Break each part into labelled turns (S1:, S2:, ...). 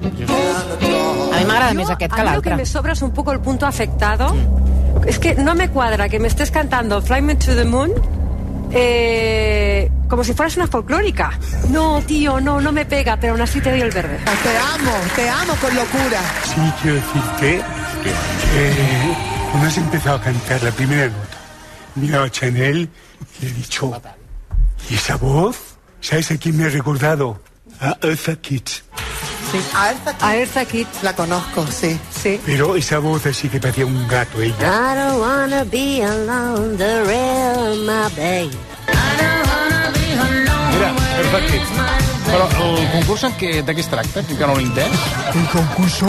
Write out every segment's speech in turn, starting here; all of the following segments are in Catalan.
S1: A mi m'agrada més aquest que
S2: A mí lo que
S1: l'altre.
S2: me sobra es un poco el punto afectado. Es que no me cuadra que me estés cantando Fly Me to the Moon eh, como si fueras una folclórica. No, tío, no, no me pega, pero aún así te doy el verde.
S3: Te amo, te amo con locura.
S4: Sí, quiero decirte que eh, cuando has empezado a cantar la primera nota, he mirado a Chanel y le he dicho, ¿y esa voz? ¿Sabes a quién me ha recordado? A Eartha Kitt.
S3: A Elsa Kitt.
S2: A Erza Kitt,
S3: La conozco, sí.
S2: sí.
S4: Pero esa voz así que parecía un gato ella.
S5: I don't wanna be alone, the real my babe.
S6: Mira, perfecte. Però el concurs en què, de què es tracta? Que no l'he entès.
S7: El concurso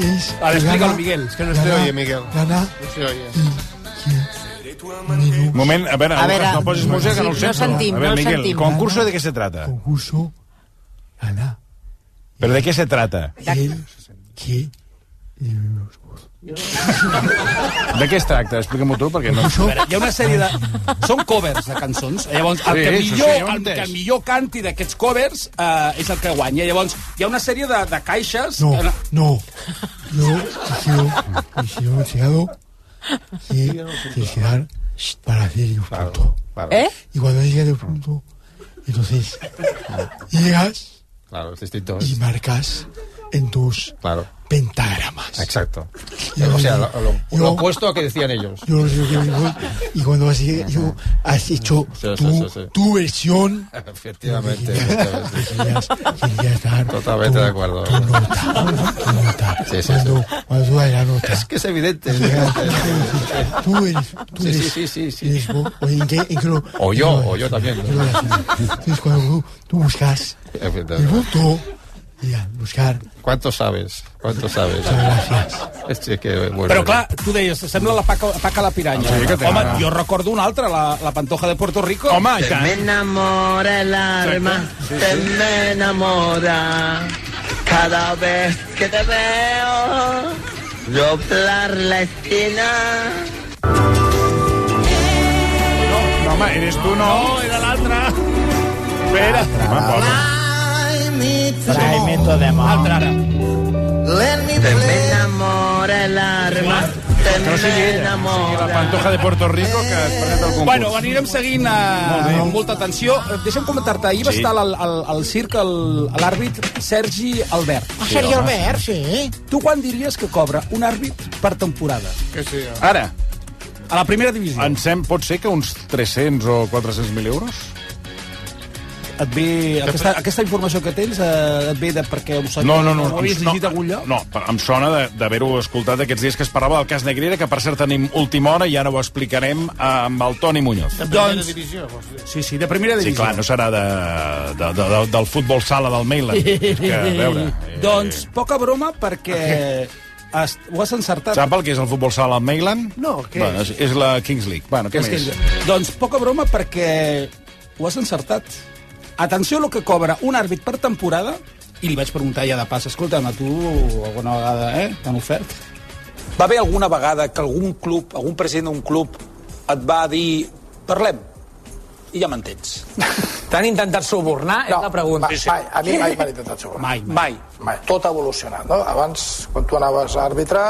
S7: es...
S8: A ver, explícalo, Miguel. Es que no se
S7: gana-
S8: oye, Miguel.
S7: Gana
S8: Sí, oye.
S6: Un moment, a veure,
S1: A veure,
S6: Lucas, no posis música, que no ho
S1: sí, no
S6: sento.
S1: sentim,
S6: a veure,
S1: no
S6: Miguel,
S1: sentim.
S6: concurs de què se trata?
S7: concurso. Gana
S6: Però de què se trata?
S7: el que...
S6: De què es tracta? Explica'm-ho tu, perquè no...
S8: A veure, hi ha una sèrie de... Són covers de cançons. Llavors, el
S6: Sí,
S8: que
S6: sí, sí, ja
S8: millor,
S6: ho he
S8: el
S6: entès.
S8: que millor canti d'aquests covers eh, és el que guanya. Llavors, hi ha una sèrie de, de caixes...
S7: No,
S8: Eh,
S7: no. Yo quiero, quiero llegado que, que quedar para hacer el punto.
S1: Eh?
S7: Y cuando llegas el punto, entonces llegas
S6: Claro, es distinto.
S7: y marcas en tus
S6: Claro.
S7: pentagramas.
S6: Exacto.
S7: Yo- yo-
S6: a que decían ellos.
S7: Yo no sé lo que digo, y cuando has, yo, has hecho
S6: Sí, sí,
S7: tu,
S6: sí, sí.
S7: tu versión,
S6: Efectivamente.
S7: querías, querías dar
S6: Totalmente
S7: tu-
S6: de acuerdo.
S7: tu nota, tu nota.
S6: Sí, sí, sí.
S7: cuando, cuando tú das la nota.
S6: que es evidente.
S7: llegas, Tú eres, tú
S6: Sí,
S7: eres,
S6: sí, sí, sí, sí.
S7: eres vos, o en qué- en qué lo-
S6: O yo, o yo también.
S7: lo haces. Entonces cuando tú, tú buscas el punto, y al buscar,
S6: ¿Cuánto sabes? ¿Cuánto sabes?
S7: gracias.
S6: Este que, bueno,
S8: Però clar, tu deies, sembla la paca, paca la piranya.
S6: Sí, que té
S8: Home,
S6: gana.
S8: jo recordo una altra, la, la Pantoja de Puerto Rico.
S6: Home, i tant.
S5: enamora el alma, te me enamora. Cada vez que te veo, doblar la esquina.
S6: No, home, eres tu, no. No, era l'altra. Espera. Ah. Home, pobre.
S7: Traimiento de
S8: Altra, ara.
S5: Te me enamora el alma, te
S6: Que no sigui ella, que
S5: me
S6: sigui la
S5: enamora.
S6: Pantoja de Puerto Rico que es presenta al concurs.
S8: Bueno, anirem seguint eh, amb molta atenció. Eh, Deixa'm comentar-te, ahir va
S6: Sí.
S8: estar al, al, al circ el- l'àrbit Sergi Albert.
S3: Sergio Ah, Albert, sí.
S8: Tu quan diries que cobra un àrbit per temporada?
S6: Que sí, Ara,
S8: A la primera divisió.
S6: em sem, pot ser que uns 300 o 400 mil euros?
S8: Et ve... Eh, Aquesta, aquesta informació que tens eh, et ve de perquè ho sabies?
S6: No, no, no.
S8: Ho havies
S6: em- no,
S8: llegit a algun lloc?
S6: No, però em sona de- d'haver-ho escoltat aquests dies que es parlava del cas Negrera, que per cert tenim última hora i ara ho explicarem eh, amb el Toni Muñoz.
S8: Doncs... Sí, sí, de primera
S6: Sí,
S8: divisió.
S6: clar, no serà de, de, de, de, del futbol sala del Mailand. És que, a veure... eh,
S8: Doncs poca broma perquè has, ho has encertat.
S6: Sap el que és el futbol sala del Mailand?
S8: No, què
S6: bueno, és? És la Kings League. Bueno, què
S8: És que,
S6: més?
S8: doncs poca broma perquè ho has encertat. Atenció a lo que cobra un àrbit per temporada i li vaig preguntar ja de pas, escolta'm, a tu alguna vegada eh, t'han ofert? Va haver alguna vegada que algun club, algun president d'un club et va dir parlem i ja m'entens.
S9: T'han intentat subornar? No, és la pregunta.
S10: Mai, mai, a mi mai m'han intentat segur.
S8: Mai, mai.
S9: Mai.
S10: Mai. Tot ha evolucionat, no? Abans, quan tu anaves a arbitrar,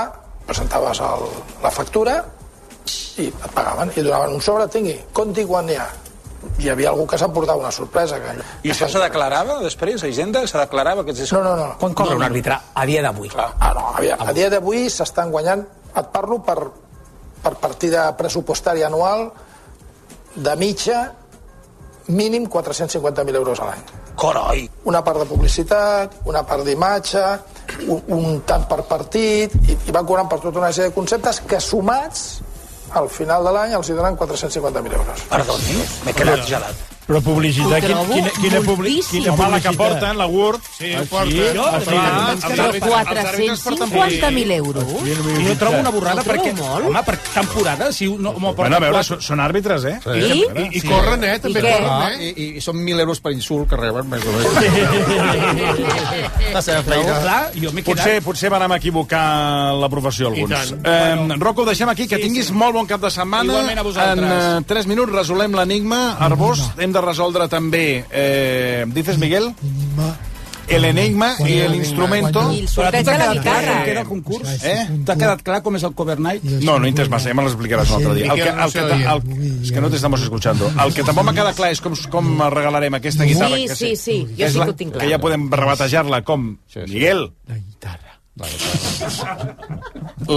S10: presentaves el, la factura i et pagaven i donaven un sobre, tingui, compti quan hi ha. Hi havia algú que s'emportava una sorpresa. Que...
S8: I això se declarava després, a Hisenda? Se declarava que ets...
S10: No, no, no.
S9: Quan cobra un àrbitre a dia d'avui?
S10: Ah, no, aviam. A dia d'avui s'estan guanyant, et parlo per, per partida pressupostària anual, de mitja, mínim 450.000 euros a l'any.
S9: Coroi.
S10: una part de publicitat, una part d'imatge, un, un tant per partit, i, i van cobrant per tota una sèrie de conceptes que sumats al final de l'any els hi donen 450.000 euros.
S9: Perdoni, m'he quedat gelat.
S11: Però publicitat, quina, quina, quina, publi quina
S6: Home, la
S11: publicitat?
S6: que porten, la Word, sí,
S11: Ah,
S6: ho
S11: sí?
S6: porten.
S11: Jo,
S6: Ah,
S11: però
S6: els àrbitres- els àrbitres porten publicitat.
S12: 450.000 euros.
S8: I jo trobo una borrada
S12: Ho trobo
S8: perquè...
S12: molt.
S8: Home, per temporada, si un... No, home,
S6: Bueno, a veure,
S8: quatre-
S6: són- són àrbitres, eh?
S8: Sí? I- i corren, eh, també corren,
S6: Ah,
S13: eh? I, i, són 1.000 euros per insult que reben, més o menys. La seva feina.
S6: potser, potser vàrem equivocar la professió alguns.
S13: I tant.
S6: Eh, Rocco, ho deixem aquí, que tinguis molt bon cap de setmana.
S8: Igualment a vosaltres.
S6: En eh, 3 minuts resolem l'enigma. Arbós, hem de resoldre també, eh, dices Miguel? El enigma i el instrumento.
S8: Queda concurs? Eh? T'ha quedat clar com és el Cover Night?
S6: No, no entes massa, ja me l'explicaràs un altre dia. El que, el que, el, el, és que no t'estamos escuchando. El que tampoc m'ha quedat clar és com, com regalarem aquesta guitarra.
S12: Sí,
S6: que
S12: sí, sí, jo
S6: que és
S12: sí
S6: la-
S12: que ho tinc clar.
S6: Que ja podem rebatejar-la com Miguel. La guitarra.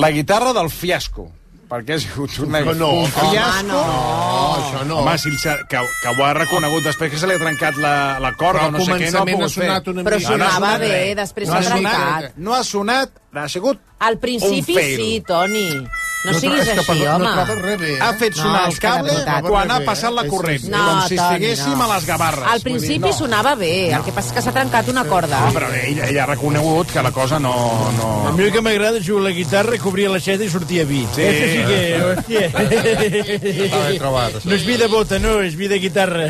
S6: La guitarra del fiasco. Perquè ha sigut una...
S13: Però no,
S6: un
S13: home,
S6: fiasco.
S13: no. No, això no.
S6: Home, si el, Xa- que, que ho ha reconegut després que se li ha trencat la, la corda
S13: Però
S6: o no sé què, no ha
S13: començament
S6: pogut
S13: ha sonat
S6: fer.
S13: una Però mica.
S6: No, no ha
S13: sonava
S6: sonat
S13: bé,
S6: res.
S12: després
S6: no
S12: s'ha
S6: ha sonat.
S12: trencat.
S6: No ha sonat, ha sigut Oh.
S12: Al principi
S6: un fail.
S12: sí, Toni. No,
S6: No,
S12: siguis
S6: és que
S12: així,
S6: per- no
S12: home.
S6: trobo res bé, eh? Ha fet sonar el
S12: és que de
S6: cable
S12: veritat.
S6: quan ha passat la corrent,
S12: No,
S6: com si
S12: Toni,
S6: estiguéssim
S12: no.
S6: a les Gavarres.
S12: Al principi
S6: Vull dir, no.
S12: sonava bé, el que passa és que s'ha trencat una corda.
S6: Ah, però ella, ella ha reconegut que la cosa no... no...
S11: A mi el que m'agrada és jugar a la guitarra, cobrir l'aixeta i sortir a vi.
S6: Sí.
S11: Este sí que... Hòstia.
S13: Està ben trobat, això.
S11: No és vi de bota, no, és vi de guitarra.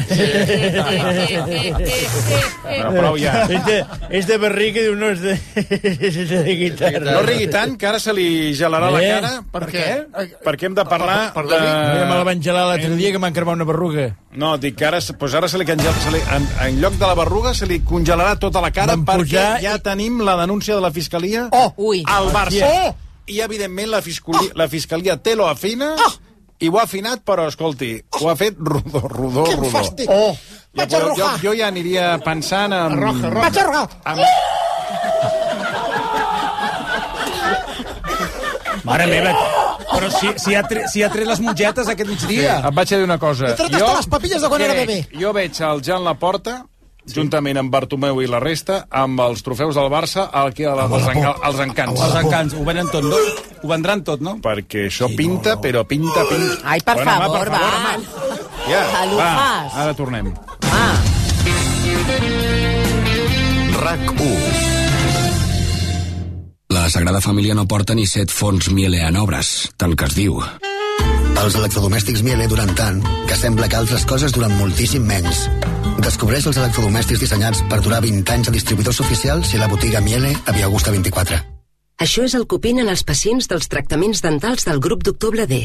S6: Bueno, prou ja.
S11: És de, és de barrica, diu, no, és de, és de guitarra.
S6: No rigui tant, que ara se li gelarà la
S11: Eh?
S6: cara.
S11: Per
S6: què? Perquè hem de parlar...
S11: Perdó, ja me la van gelar l'altre dia que m'han cremat una berruga.
S6: No, dic que ara, se- doncs ara se li congela, se li, en, en lloc de la berruga se li congelarà tota la cara
S11: Van
S6: perquè
S11: pujar
S6: ja tenim la denúncia de la Fiscalia
S12: Oh, ui.
S6: al Barça.
S12: Hòstia.
S6: I, evidentment, la Fiscalia, la fiscalia té lo afina i ho ha afinat, però, escolti, ho ha fet rodó, rodó,
S14: Quin
S6: rodó.
S14: fàstic.
S6: Oh. Ja,
S14: Vaig
S6: podeu- jo,
S14: arrojar.
S6: jo ja aniria pensant en... Arroja,
S14: Vaig a rogar.
S8: Mare meva, però si, si, ha tre, si ha tret les mongetes aquest migdia.
S6: Et vaig a dir una cosa.
S8: He tret
S6: Jo-
S8: hasta les papilles de quan era
S6: crec-
S8: bebè.
S6: Jo veig el Jan Laporta, sí. juntament amb Bartomeu i la resta, amb els trofeus del Barça, el que els, els, enca- els encants.
S8: Els encants, ho venen tot, no? Ho vendran tot, no?
S6: Perquè això sí, pinta, no, no. però pinta, pinta...
S12: Ai, per
S6: Bueno,
S12: favor,
S6: home, per
S12: va.
S6: favor,
S8: Ah,
S6: Ja,
S12: Alufàs.
S6: va, ara tornem.
S15: RAC1. La Sagrada Família no porta ni set fons Miele en obres, tant que es diu.
S16: Els electrodomèstics Miele duren tant que sembla que altres coses duren moltíssim menys. Descobreix els electrodomèstics dissenyats per durar 20 anys a distribuïdors oficials i a la botiga Miele a Via Augusta 24.
S17: Això és el que opinen els pacients dels tractaments dentals del grup d'octubre D.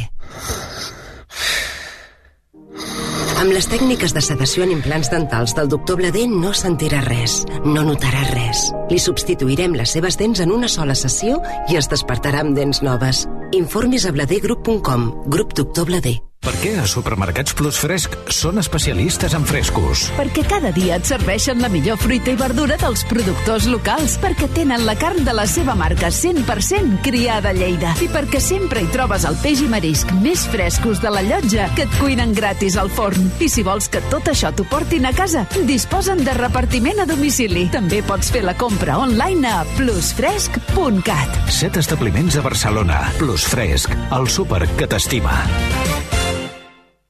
S17: Amb les tècniques de sedació en implants dentals del doctor D no sentirà res, no notarà res. Li substituirem les seves dents en una sola sessió i es despertarà amb dents noves. Informis a bladergroup.com, grup doctor D.
S1: Per què a Supermercats Plus Fresc són especialistes en frescos?
S18: Perquè cada dia et serveixen la millor fruita i verdura dels productors locals, perquè tenen la carn de la seva marca 100% criada a Lleida i perquè sempre hi trobes el peix i marisc més frescos de la llotja que et cuinen gratis al forn. I si vols que tot això t'ho portin a casa, disposen de repartiment a domicili. També pots fer la compra online a plusfresc.cat.
S1: Set establiments a Barcelona. Plus Fresc, el súper que t'estima.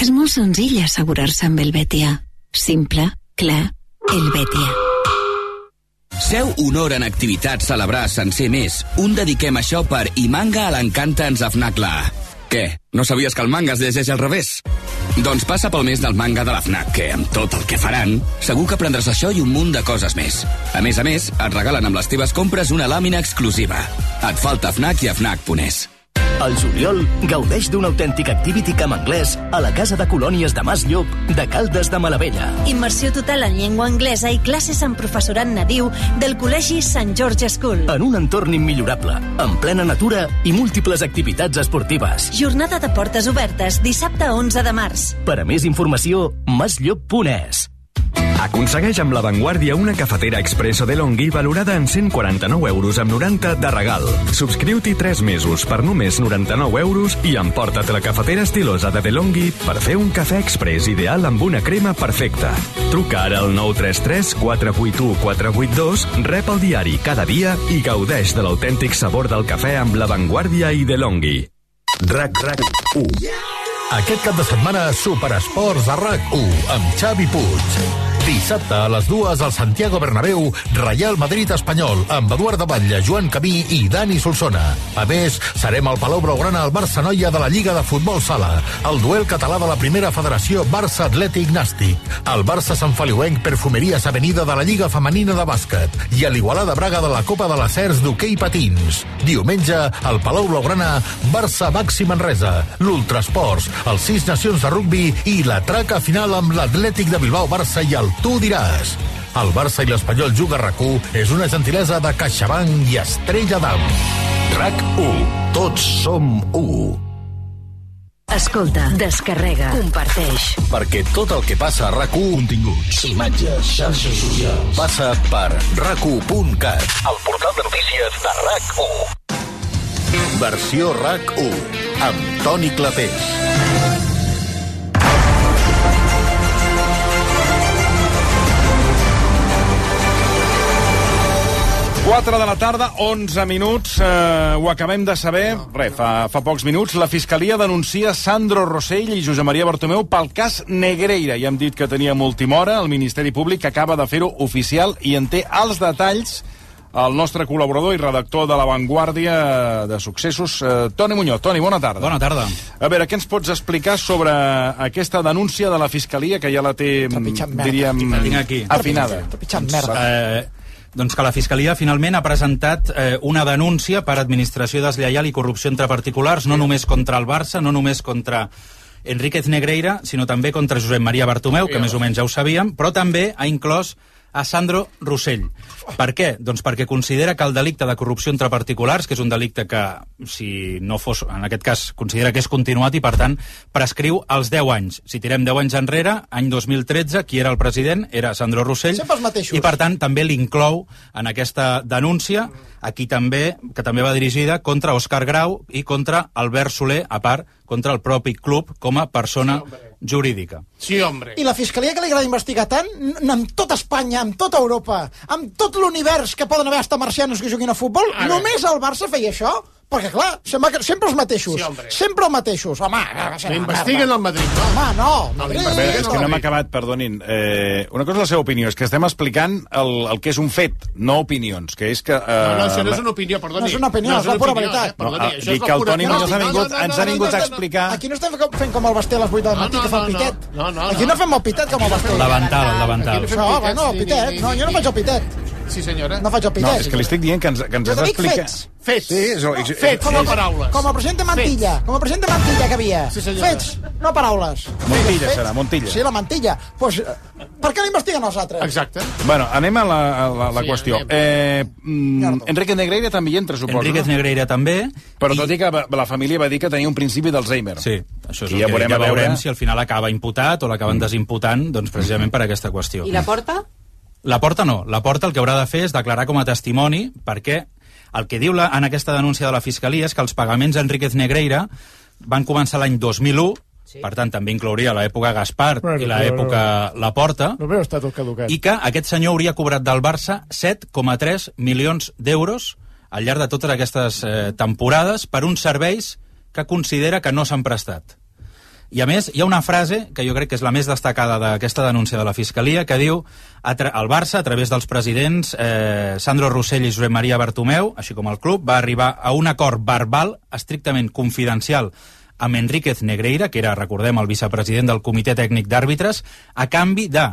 S18: És molt senzill assegurar-se amb el Betia. Simple, clar, el Betia.
S19: Seu honor en activitats celebrar sencer més. Un dediquem això per I manga a l'encanta ens afnacla. Què? No sabies que el manga es llegeix al revés? Doncs passa pel mes del manga de l'AFNAC, que amb tot el que faran, segur que aprendràs això i un munt de coses més. A més a més, et regalen amb les teves compres una làmina exclusiva. Et falta AFNAC i AFNAC.es.
S20: Al juliol, gaudeix d'un autèntic activity camp anglès a la Casa de Colònies de Mas Llop de Caldes de Malavella.
S21: Immersió total en llengua anglesa i classes amb professorat nadiu del Col·legi Sant George School.
S20: En un entorn immillorable, en plena natura i múltiples activitats esportives.
S21: Jornada de portes obertes, dissabte 11 de març.
S20: Per a més informació, maslloc.es.
S22: Aconsegueix amb La Vanguardia una cafetera expresso de Longhi valorada en 149 euros amb 90 de regal. Subscriu-t'hi 3 mesos per només 99 euros i emporta't la cafetera estilosa de DeLonghi per fer un cafè express ideal amb una crema perfecta. Truca ara al 933 481 482, rep el diari cada dia i gaudeix de l'autèntic sabor del cafè amb La Vanguardia i DeLonghi. RAC RAC 1
S23: Aquest cap de setmana, Superesports a RAC1, amb Xavi Puig. Dissabte a les dues al Santiago Bernabéu, Real Madrid Espanyol, amb Eduard de Batlle, Joan Camí i Dani Solsona. A més, serem al Palau Blaugrana al Barça Noia de la Lliga de Futbol Sala, el duel català de la primera federació Barça Atlètic Nàstic, el Barça Sant Feliuenc Perfumeries Avenida de la Lliga Femenina de Bàsquet i a l'Igualada Braga de la Copa de les Cers d'Hockey Patins. Diumenge, al Palau Blaugrana, Barça Baxi Manresa, l'Ultrasports, els sis nacions de rugbi i la traca final amb l'Atlètic de Bilbao Barça i el Tu diràs. El Barça i l'Espanyol juga a rac és una gentilesa de CaixaBank i Estrella d'Am. RAC1. Tots som u.
S2: Escolta, descarrega, Ah. comparteix.
S23: Perquè tot el que passa a rac Continguts, imatges, xarxes socials... Passa per rac1.cat. El portal de notícies de RAC1. Versió RAC1. Amb Toni Clapés.
S6: Quatre de la tarda, 11 minuts, eh, ho acabem de saber, re, fa, fa pocs minuts, la Fiscalia denuncia Sandro Rossell i Josep Maria Bartomeu pel cas Negreira. Ja hem dit que tenia última hora, el Ministeri Públic acaba de fer-ho oficial i en té els detalls el nostre col·laborador i redactor de La Vanguardia de Successos, eh, Toni Muñoz. Toni, bona tarda. Bona
S24: tarda.
S6: A veure, què ens pots explicar sobre aquesta denúncia de la Fiscalia, que ja la té,
S24: merda.
S6: diríem,
S24: La tinc aquí.
S6: afinada?
S24: Doncs, Eh, doncs que la Fiscalia finalment ha presentat eh, una denúncia per administració deslleial i corrupció entre particulars, no només contra el Barça, no només contra Enríquez Negreira, sinó també contra Josep Maria Bartomeu, que més o menys ja ho sabíem, però també ha inclòs a Sandro Rossell. Per què? Doncs perquè considera que el delicte de corrupció entre particulars, que és un delicte que, si no fos, en aquest cas, considera que és continuat i, per tant, prescriu els 10 anys. Si tirem 10 anys enrere, any 2013, qui era el president era Sandro Rossell.
S14: Sempre els mateixos.
S24: I, per tant, també l'inclou en aquesta denúncia, aquí també, que també va dirigida contra Òscar Grau i contra Albert Soler, a part, contra el propi club com a persona jurídica.
S14: Sí, hombre. I la Fiscalia que li agrada investigar tant, n- amb tot Espanya, amb tota Europa, amb tot l'univers que poden haver estat marcianos que juguin a futbol,
S3: Ara.
S14: només el Barça feia això? Perquè, clar, sembla que sempre els mateixos.
S3: Sí, hombre.
S14: sempre els mateixos. Home, eh, va ser
S3: Li
S14: una
S3: investiguen
S14: merda.
S3: al Madrid,
S14: no? Home, Ah, no. Madrid.
S6: A veure, és que no hem acabat, perdonin. Eh, una cosa és la seva opinió, és que estem explicant el, el que és un fet, no opinions, que és que... Eh,
S3: No, no, això no és una opinió, perdoni.
S14: No és una opinió, és la pura veritat.
S3: Eh? Perdoni,
S6: No, ah,
S3: això
S6: dic
S3: és
S6: que
S3: la
S6: el
S3: pura
S6: Toni Muñoz ha
S3: veritat.
S6: vingut- ens ha vingut a
S14: no, no.
S6: explicar-
S14: Aquí no estem com- fent com el Basté a les 8 del matí, que fa el pitet. No, no, Aquí no fem el pitet com el Basté.
S24: Davantal, el davantal.
S14: Això, home, no, el pitet. No, jo no faig el pitet.
S3: Sí, senyora.
S14: No faig el
S6: No,
S14: pitet.
S6: és que li estic dient que ens, que ens
S14: Jo
S6: has
S14: te dic
S6: d'explicar...
S14: fets.
S3: Fets.
S6: Sí, és, no, és,
S3: fets, no paraules.
S14: Com a president de Mantilla. Com a president de Mantilla que havia.
S3: Sí, senyora.
S14: Fets, no paraules.
S6: Montilla
S14: Fets.
S6: serà, Montilla.
S14: Sí, la Mantilla. Pues, eh, per què la investiguen els altres?
S3: Exacte.
S6: Bueno, anem a la, a la, a la sí, qüestió. Eh, mm, Enrique Negreira també hi entra, suposo.
S24: Enriquez
S6: no?
S24: Negreira també.
S6: Però tot i que va- la família va dir que tenia un principi d'Alzheimer.
S24: Sí, això és
S6: I
S24: el
S6: ja
S24: que
S6: veurem
S24: ja
S6: a veure-
S24: veurem si al final acaba imputat o l'acaben desimputant, doncs precisament per aquesta qüestió.
S12: I la porta?
S24: La porta no. La porta el que haurà de fer és declarar com a testimoni perquè el que diu la, en aquesta denúncia de la Fiscalia és que els pagaments d'Enriquez Negreira van començar l'any 2001, sí. per tant també inclouria l'època Gaspar
S25: Bueno,
S24: i l'època La Porta,
S25: No veu, està tot caducat.
S24: i que aquest senyor hauria cobrat del Barça 7,3 milions d'euros al llarg de totes aquestes eh, temporades per uns serveis que considera que no s'han prestat. I a més, hi ha una frase que jo crec que és la més destacada d'aquesta denúncia de la Fiscalia, que diu a tra- el Barça, a través dels presidents eh, Sandro Rossell i Josep Maria Bartomeu, així com el club, va arribar a un acord verbal estrictament confidencial amb Enríquez Negreira, que era, recordem, el vicepresident del Comitè Tècnic d'Àrbitres, a canvi de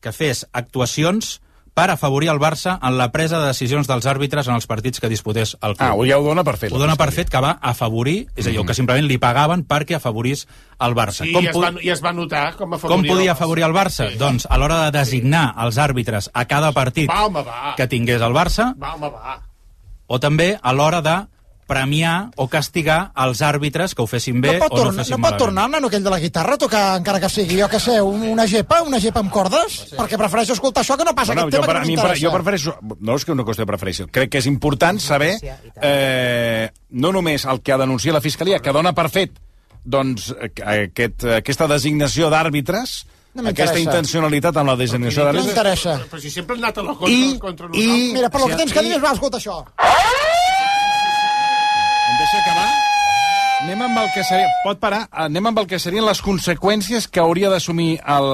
S24: que fes actuacions per afavorir el Barça en la presa de decisions dels àrbitres en els partits que disputés el club.
S6: Ah, ho ja ho dona per fet. Mm.
S24: Ho dona per fet que va afavorir, és a dir, o que simplement li pagaven perquè afavorís el Barça.
S3: I,
S24: com,
S3: es
S24: po-
S3: va, I es va notar com afavoria...
S24: com podia afavorir el Barça? Sí. Doncs a l'hora de designar sí. els àrbitres a cada partit
S3: Va, home, va.
S24: que tingués el Barça,
S3: Va, home, va.
S24: o també a l'hora de premiar o castigar els àrbitres que ho fessin bé
S14: no pot,
S24: Eh, o no
S14: tornar,
S24: fessin
S14: no pot
S24: malament.
S14: tornar el nano aquell de la guitarra a tocar, encara que sigui, jo que sé, un, una gepa, una gepa amb cordes? Perquè prefereixo escoltar això que no passa
S6: Bueno,
S14: aquest
S6: jo,
S14: tema
S6: per, a
S14: que no
S6: mi, per,
S14: m'interessa.
S6: jo prefereixo... No és que una qüestió de preferència. Crec que és important saber eh, no només el que ha denunciat la Fiscalia, que dona per fet doncs, eh, aquest, eh, aquesta designació d'àrbitres,
S14: No
S6: aquesta
S14: m'interessa.
S6: intencionalitat amb la designació
S14: No
S6: d'àrbitres...
S14: m'interessa.
S3: Però si sempre han anat a la contra,
S14: I,
S3: contra
S14: i...
S3: nosaltres.
S14: Mira, per lo que
S3: Sí,
S14: tens que
S3: i-
S14: dir és, va, escolta això.
S6: Em deixa acabar? Anem amb el que seria... Pot parar? Anem amb el que serien les conseqüències que hauria d'assumir el,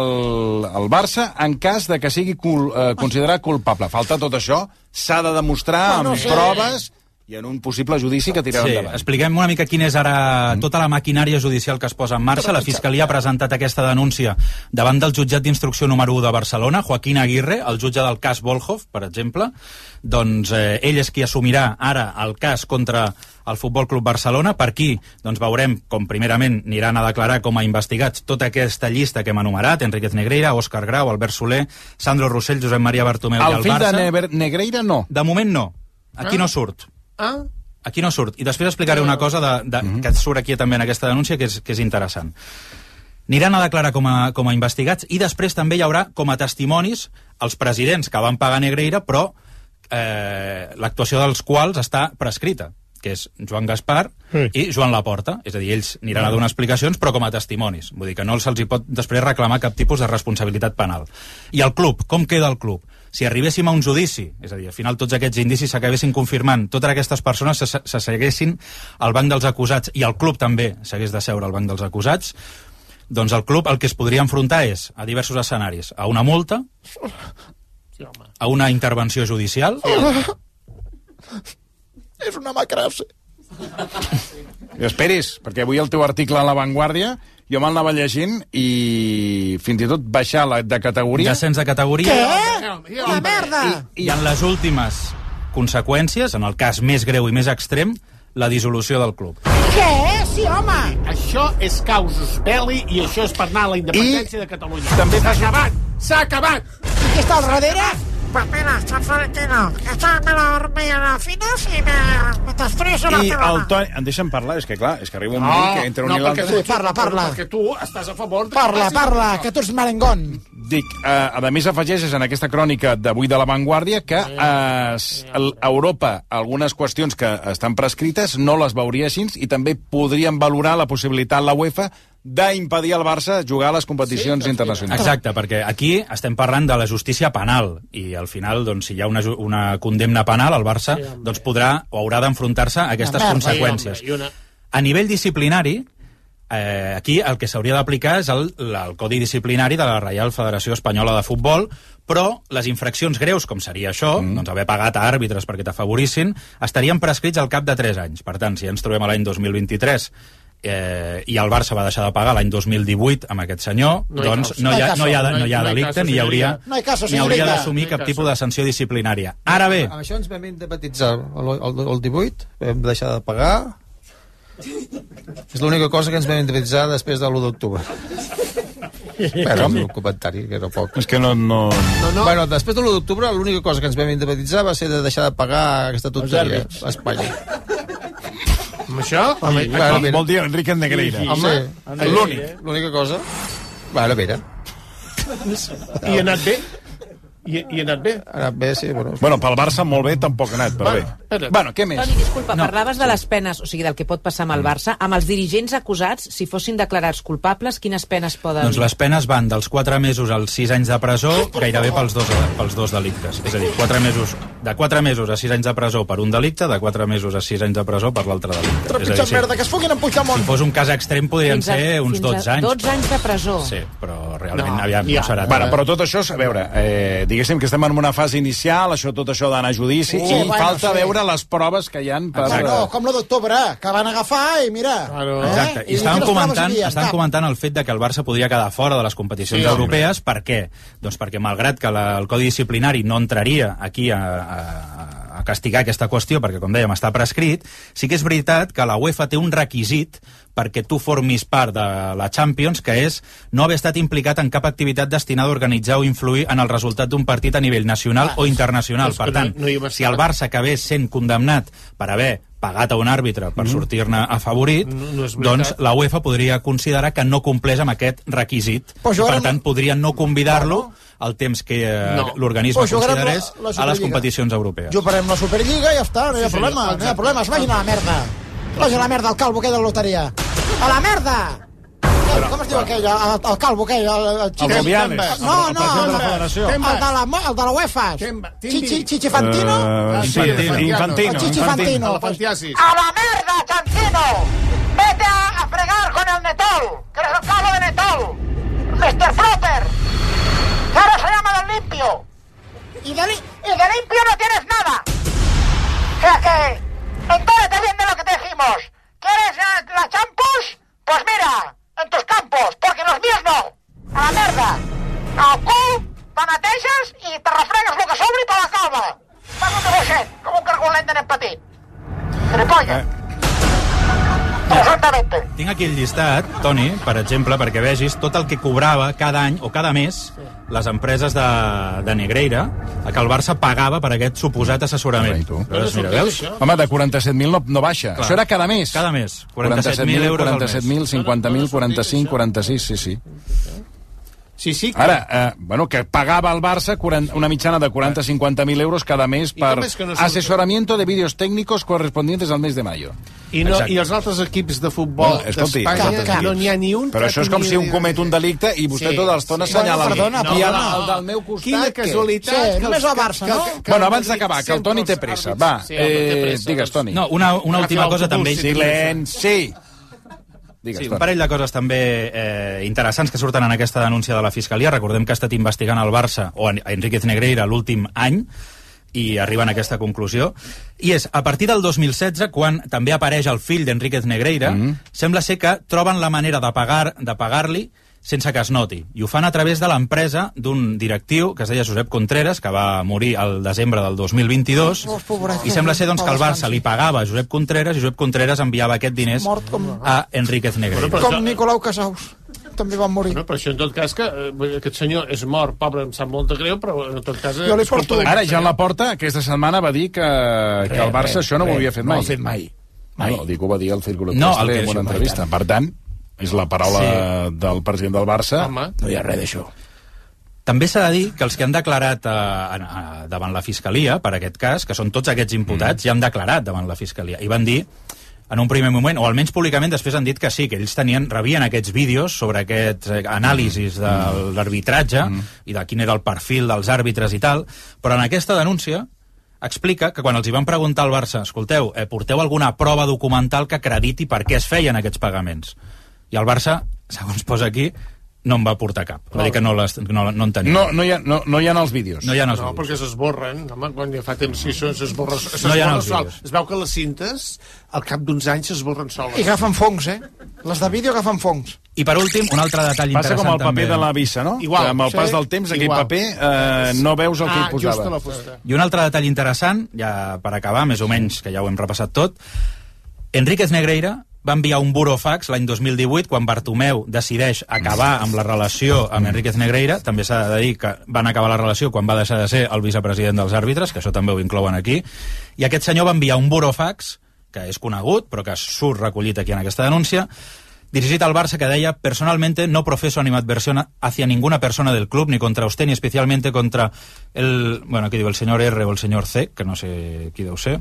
S6: el Barça en cas de que sigui cul, eh, considerat culpable. Falta tot això, s'ha de demostrar
S24: Bueno,
S6: amb
S24: sí.
S6: proves i en un possible judici que tirarà
S24: Sí,
S6: endavant.
S24: expliquem una mica quina és ara tota la maquinària judicial que es posa en
S6: Tota
S24: marxa. La Fiscalia ha presentat aquesta denúncia davant del jutjat d'instrucció número 1 de Barcelona, Joaquín Aguirre, el jutge del cas Volhov, per exemple. Doncs eh, ell és qui assumirà ara el cas contra el Futbol Club Barcelona. Per aquí doncs, veurem com primerament aniran a declarar com a investigats tota aquesta llista que hem enumerat, Enriquez Negreira, Òscar Grau, Albert Soler, Sandro Rossell, Josep Maria Bartomeu i
S6: El
S24: el
S6: fill de
S24: Barça.
S6: Never, Negreira, no.
S24: De moment no. Aquí
S6: Ah.
S24: no surt.
S3: Ah?
S24: Aquí no surt. I després explicaré una cosa de, de, mm -hmm. que surt aquí també en aquesta denúncia que és, que és interessant. Aniran a declarar com a, com a investigats i després també hi haurà com a testimonis els presidents que van pagar Negreira però eh, l'actuació dels quals està prescrita que és Joan Gaspar sí. i Joan Laporta. És a dir, ells aniran a donar explicacions, però com a testimonis. Vull dir que no se'ls hi pot després reclamar cap tipus de responsabilitat penal. I el club, com queda el club? Si arribéssim a un judici, és a dir, al final tots aquests indicis s'acabessin confirmant, totes aquestes persones se, se- se seguessin al banc dels acusats i el club també s'hagués de seure al banc dels acusats, doncs el club el que es podria enfrontar és a diversos escenaris. A una multa, a una intervenció judicial,
S14: És una macrase.
S6: I Esperis, perquè avui el teu article a La Vanguardia jo me'l anava llegint i fins i tot baixar la, de categoria...
S24: descens de categoria...
S14: Una merda!
S24: I, I en les últimes conseqüències, en el cas més greu i més extrem, la dissolució del club.
S14: Què? Sí, home!
S3: Això és causus belli i això és per anar a la independència I... de Catalunya. També s'ha acabat! S'ha acabat!
S14: I què està al darrere?
S26: Pues mira, está Florentino. Esta me la, me la finas y me, me destrozo la
S6: I el
S26: pelota.
S6: Toni... Em deixen parlar? És que, clar, és que arriba un
S3: No,
S6: moment que entre un
S3: no,
S6: i
S3: perquè
S6: l'altre...
S3: tu- Sí, parla, parla.
S6: Perquè
S3: tu estàs a favor...
S14: Parla, parla, que tu ets merengón.
S6: Dic, eh, a més afegeixes en aquesta crònica d'avui de La Vanguardia que eh, s- el- a Europa algunes qüestions que estan prescrites no les veuria així i també podrien valorar la possibilitat la UEFA d'impedir al Barça jugar a les competicions sí, internacionals.
S24: Exacte, perquè aquí estem parlant de la justícia penal i al final, doncs, si hi ha una, ju- una condemna penal, el Barça sí, doncs, podrà o haurà d'enfrontar-se a aquestes
S3: Merda.
S24: conseqüències.
S3: I una...
S24: A nivell disciplinari, eh, aquí el que s'hauria d'aplicar és el, la- el Codi Disciplinari de la Reial Federació Espanyola de Futbol, però les infraccions greus, com seria això, mm. doncs haver pagat a àrbitres perquè t'afavorissin, estarien prescrits al cap de 3 anys. Per tant, si ens trobem a l'any 2023 eh, i el Barça va deixar de pagar l'any 2018 amb aquest senyor,
S14: No
S24: no
S14: hi
S24: doncs
S14: caso.
S24: no hi, ha,
S14: No hi
S24: no hi ha,
S14: caso.
S24: no hi ha
S14: No hi
S24: delicte
S14: caso,
S24: ni hi hauria,
S14: señorita. No hi caso,
S24: ni hauria
S14: señorita.
S24: d'assumir
S14: No hi
S24: cap
S14: caso.
S24: tipus de sanció disciplinària. Ara bé,
S13: Amb això ens vam indepatitzar el, el, el 18, vam deixar de pagar... És l'única cosa que ens vam indepatitzar després de l'1 d'octubre. Però amb un comentari, que era poc.
S6: És que no... no...
S13: No, no. Bueno, després de l'1 d'octubre, l'única cosa que ens vam indepatitzar va ser de deixar de pagar aquesta tonteria
S3: àrbits.
S13: a Espanya.
S3: Amb això? Amb,
S13: Sí, bueno, mira.
S3: vol
S6: dir Enrique
S3: Negreira.
S13: Home,
S3: Sí, sí.
S13: l'únic. L'única cosa... Bueno, mira,
S3: I ha anat bé? I, i ha anat bé?
S13: ha anat bé, sí, bueno.
S6: Bueno, pel Barça molt bé tampoc ha anat, però bé. Bueno, què més?
S12: Toni, disculpa,
S6: No.
S12: no. parlaves de les penes, o sigui, del que pot passar amb el Barça. Amb els dirigents acusats, si fossin declarats culpables, quines penes poden...
S24: Doncs les penes van dels 4 mesos als 6 anys de presó, gairebé pels dos, pels dos delictes. És a dir, 4 mesos, de 4 mesos a 6 anys de presó per un delicte, de 4 mesos a 6 anys de presó per l'altre delicte. És a
S14: Trepitjant
S24: dir,
S14: merda, que es foguin en Puigdemont.
S24: si fos un cas extrem podrien
S14: Fins a-
S24: ser uns
S14: fins a
S24: 12 anys.
S14: 12 anys de
S12: presó.
S24: Sí, però realment no, aviam, ja. no serà.
S6: Bueno, però tot això, a veure, eh, diguéssim que estem en una fase inicial, això tot això d'anar a judici,
S14: Sí,
S6: i
S14: bueno,
S6: falta
S14: sí.
S6: veure les proves que hi han per... eh,
S14: Claro. No, com la d'octubre, que van agafar i mira... eh? Claro.
S24: Exacte. I estaven comentant, estaven comentant el fet de que el Barça podria quedar fora de les competicions
S14: Sí,
S24: sí,
S14: home.
S24: europees. Per què? Doncs perquè, malgrat que la, el Codi Disciplinari no entraria aquí a, a, a castigar aquesta qüestió, perquè, com dèiem, està prescrit, sí que és veritat que la UEFA té un requisit perquè tu formis part de la Champions, que és no haver estat implicat en cap activitat destinada a organitzar o influir en el resultat d'un partit a nivell nacional o internacional.
S3: Ah, és que
S24: Per tant,
S3: no- no hi va
S24: si el Barça acabés sent condemnat per haver pagat a un àrbitre per sortir-ne afavorit,
S3: Mm. No- no és veritat.
S24: doncs la UEFA podria considerar que no compleix amb aquest requisit.
S3: Però
S24: I, per
S3: jugaran-
S24: tant, podria no convidar-lo al temps que eh,
S3: No.
S24: l'organisme
S14: Però jugaran la-
S24: considerés
S14: la
S24: a les
S14: Superliga.
S24: competicions europees.
S14: Jugarem la Superliga i ja està, no hi ha
S24: Sí, senyor,
S14: problema, no hi ha problema. Es vagin a la merda. Vagi a la merda el calvo aquell de la loteria. A la merda! Com es diu aquell? El, el calvo aquell? El, el, Chichi-
S6: Rubiales.
S14: No,
S6: El
S14: no,
S6: president
S14: el,
S6: de la
S14: el,
S6: federació.
S14: de la, mo- el de la UEFA. Chichi, Chichifantino?
S6: Eh, sí, Infantino. Infantino.
S14: El Chichifantino.
S26: ¡A la merda, Chantino! ¡Vete a, a fregar con el Netol! ¡Que eres el cabo de Netol! ¡Mr. Flutter! ¡Que ahora se llama Don Limpio! ¡Y de, li- y de limpio no tienes nada! O sea que... Entérate bien de lo que te decimos. ¿Quieres la, la champus? Pues mira, en tus campos, porque los míos no. A la merda. Al cul, te neteges i te refregues el que s'obri per la calma. Fas un dibuixet, com un cargolet de nen petit. Gilipolles. Perfectamente.
S24: Tinc aquí el llistat, Toni, per exemple, perquè vegis tot el que cobrava cada any o cada mes les empreses de, de Negreira a que el Barça pagava per aquest suposat assessorament. Llavors, mira, veus?
S6: Home, de 47.000 no, no baixa.
S24: Clar.
S6: Això era cada mes.
S24: Cada mes. 47.000 euros al mes.
S6: 47.000, 50.000, 45, 46, sí, sí.
S8: Sí, sí.
S6: Que... Ara, eh, bueno, que pagava el Barça 40, una mitjana de 40-50.000 euros cada mes per
S3: com és que no surt?
S6: assessoramiento de vídeos técnicos correspondientes al mes de mayo.
S3: I, no,
S6: Exacte.
S3: I els altres equips de futbol
S6: Bueno, escolti, els
S3: d'Espanya
S6: altres
S3: no
S6: equips.
S3: n'hi ha ni un
S6: Però
S3: que
S6: això és com
S3: tingui
S6: si un
S3: idea.
S6: comet un delicte i vostè
S3: Sí,
S6: tota l'estona
S3: sí.
S6: assenyala
S3: Bueno, perdona,
S6: I ara
S3: perdona.
S6: el del meu costat...
S3: Quina
S6: què?
S3: casualitat Sí, que els- només el Barça, que- no? que- que
S6: bueno,
S3: el
S6: abans
S3: Madrid
S6: d'acabar, que el
S3: sempre
S6: Toni té
S3: els
S6: pressa.
S3: àrbitres-
S6: Va,
S3: Sí, el Madrid té
S6: eh,
S3: pressa,
S6: digues,
S3: doncs.
S6: Toni.
S24: No, una, una última cosa també...
S6: Silenci! Digues,
S24: sí, un
S6: Toni.
S24: parell de coses també eh, interessants que surten en aquesta denúncia de la Fiscalia. Recordem que ha estat investigant el Barça o en- a Enríquez Negreira l'últim any i arriben a aquesta conclusió. I és, a partir del 2016, quan també apareix el fill d'Enríquez Negreira, mm -hmm. sembla ser que troben la manera de pagar de pagar-li sense que es noti. I ho fan a través de l'empresa d'un directiu que es deia Josep Contreras, que va morir al desembre del 2022,
S14: Els pobrets.
S24: i sembla ser doncs, que el Barça li pagava a Josep Contreras i Josep Contreras enviava aquests diners
S14: Mort com...
S24: a Enríquez Negreira.
S14: Com Nicolau Casaus. També van morir.
S3: No, però això en tot cas que eh, vull dir, aquest senyor és mort, pobre, em sap molt de greu, però en tot cas... eh, escolto-
S6: Ara, ja en la porta, aquesta setmana va dir que, que el Barça
S3: res,
S6: això no ho
S3: res,
S6: havia fet
S3: no
S6: mai.
S3: ho ha fet mai.
S6: mai. No, dic, ho va dir el Círculo
S3: No,
S6: no,
S3: el que
S6: Terrestre en
S3: és
S6: una
S3: una
S6: entrevista. Per tant, és la paraula
S24: Sí.
S6: del president del Barça.
S3: Home.
S24: No hi ha res d'això. També s'ha de dir que els que han declarat eh, en- eh, davant la Fiscalia, per aquest cas, que són tots aquests imputats, mm. ja han declarat davant la Fiscalia. I van dir, en un primer moment, o almenys públicament, després han dit que sí, que ells tenien, rebien aquests vídeos sobre aquests eh, anàlisis de
S6: Mm.
S24: l'arbitratge i de quin era el perfil dels àrbitres i tal, però en aquesta denúncia explica que quan els hi van preguntar al Barça escolteu, eh, porteu alguna prova documental que acrediti per què es feien aquests pagaments. I el Barça, segons posa aquí, no en va portar cap. Va dir que no, les, no, no en tenia.
S6: No, no, hi ha, no, no hi ha els vídeos.
S24: No hi ha els
S3: No,
S24: vídeos.
S3: perquè s'esborren, home, quan ja fa temps que això s'esborra s'esborra
S24: No hi ha els
S3: sol.
S24: vídeos.
S3: Es veu que les cintes, al cap d'uns anys, s'esborren soles.
S14: I agafen fongs, eh? Les de vídeo agafen fongs.
S24: I per últim, un altre detall
S6: Passa
S24: interessant
S6: com el paper
S24: també.
S6: de la vissa, no?
S24: Igual.
S6: Que amb el pas
S24: Sí.
S6: del temps, aquell
S24: Igual. Ah,
S6: paper, eh, no veus el que hi posava.
S24: I un altre detall interessant, ja per acabar, més o menys, que ja ho hem repassat tot, Enríquez Negreira va enviar un burofax l'any 2018 quan Bartomeu decideix acabar amb la relació amb Enríquez Negreira. També s'ha de dir que van acabar la relació quan va deixar de ser el vicepresident dels àrbitres, que això també ho inclouen aquí. I aquest senyor va enviar un burofax, que és conegut, però que surt recollit aquí en aquesta denúncia, dirigit al Barça que deia personalmente no profeso animadversión hacia ninguna persona del club ni contra usted ni especialmente contra el bueno aquí digo el señor R o el señor C que no sé qui deu ser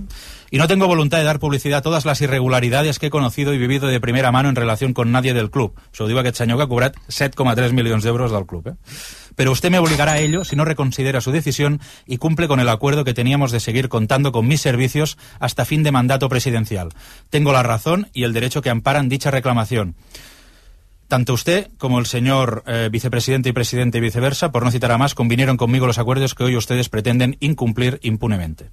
S24: y no tengo voluntad de dar publicidad a todas las irregularidades que he conocido y vivido de primera mano en relación con nadie del club això ho diu aquest senyor que ha cobrat 7,3 milions d'euros del club eh? pero usted me obligará a ello si no reconsidera su decisión y cumple con el acuerdo que teníamos de seguir contando con mis servicios hasta fin de mandato presidencial. Tengo la razón y el derecho que amparan dicha reclamación. Tanto usted como el señor eh, vicepresidente y presidente y viceversa, por no citar a más, convinieron conmigo los acuerdos que hoy ustedes pretenden incumplir impunemente.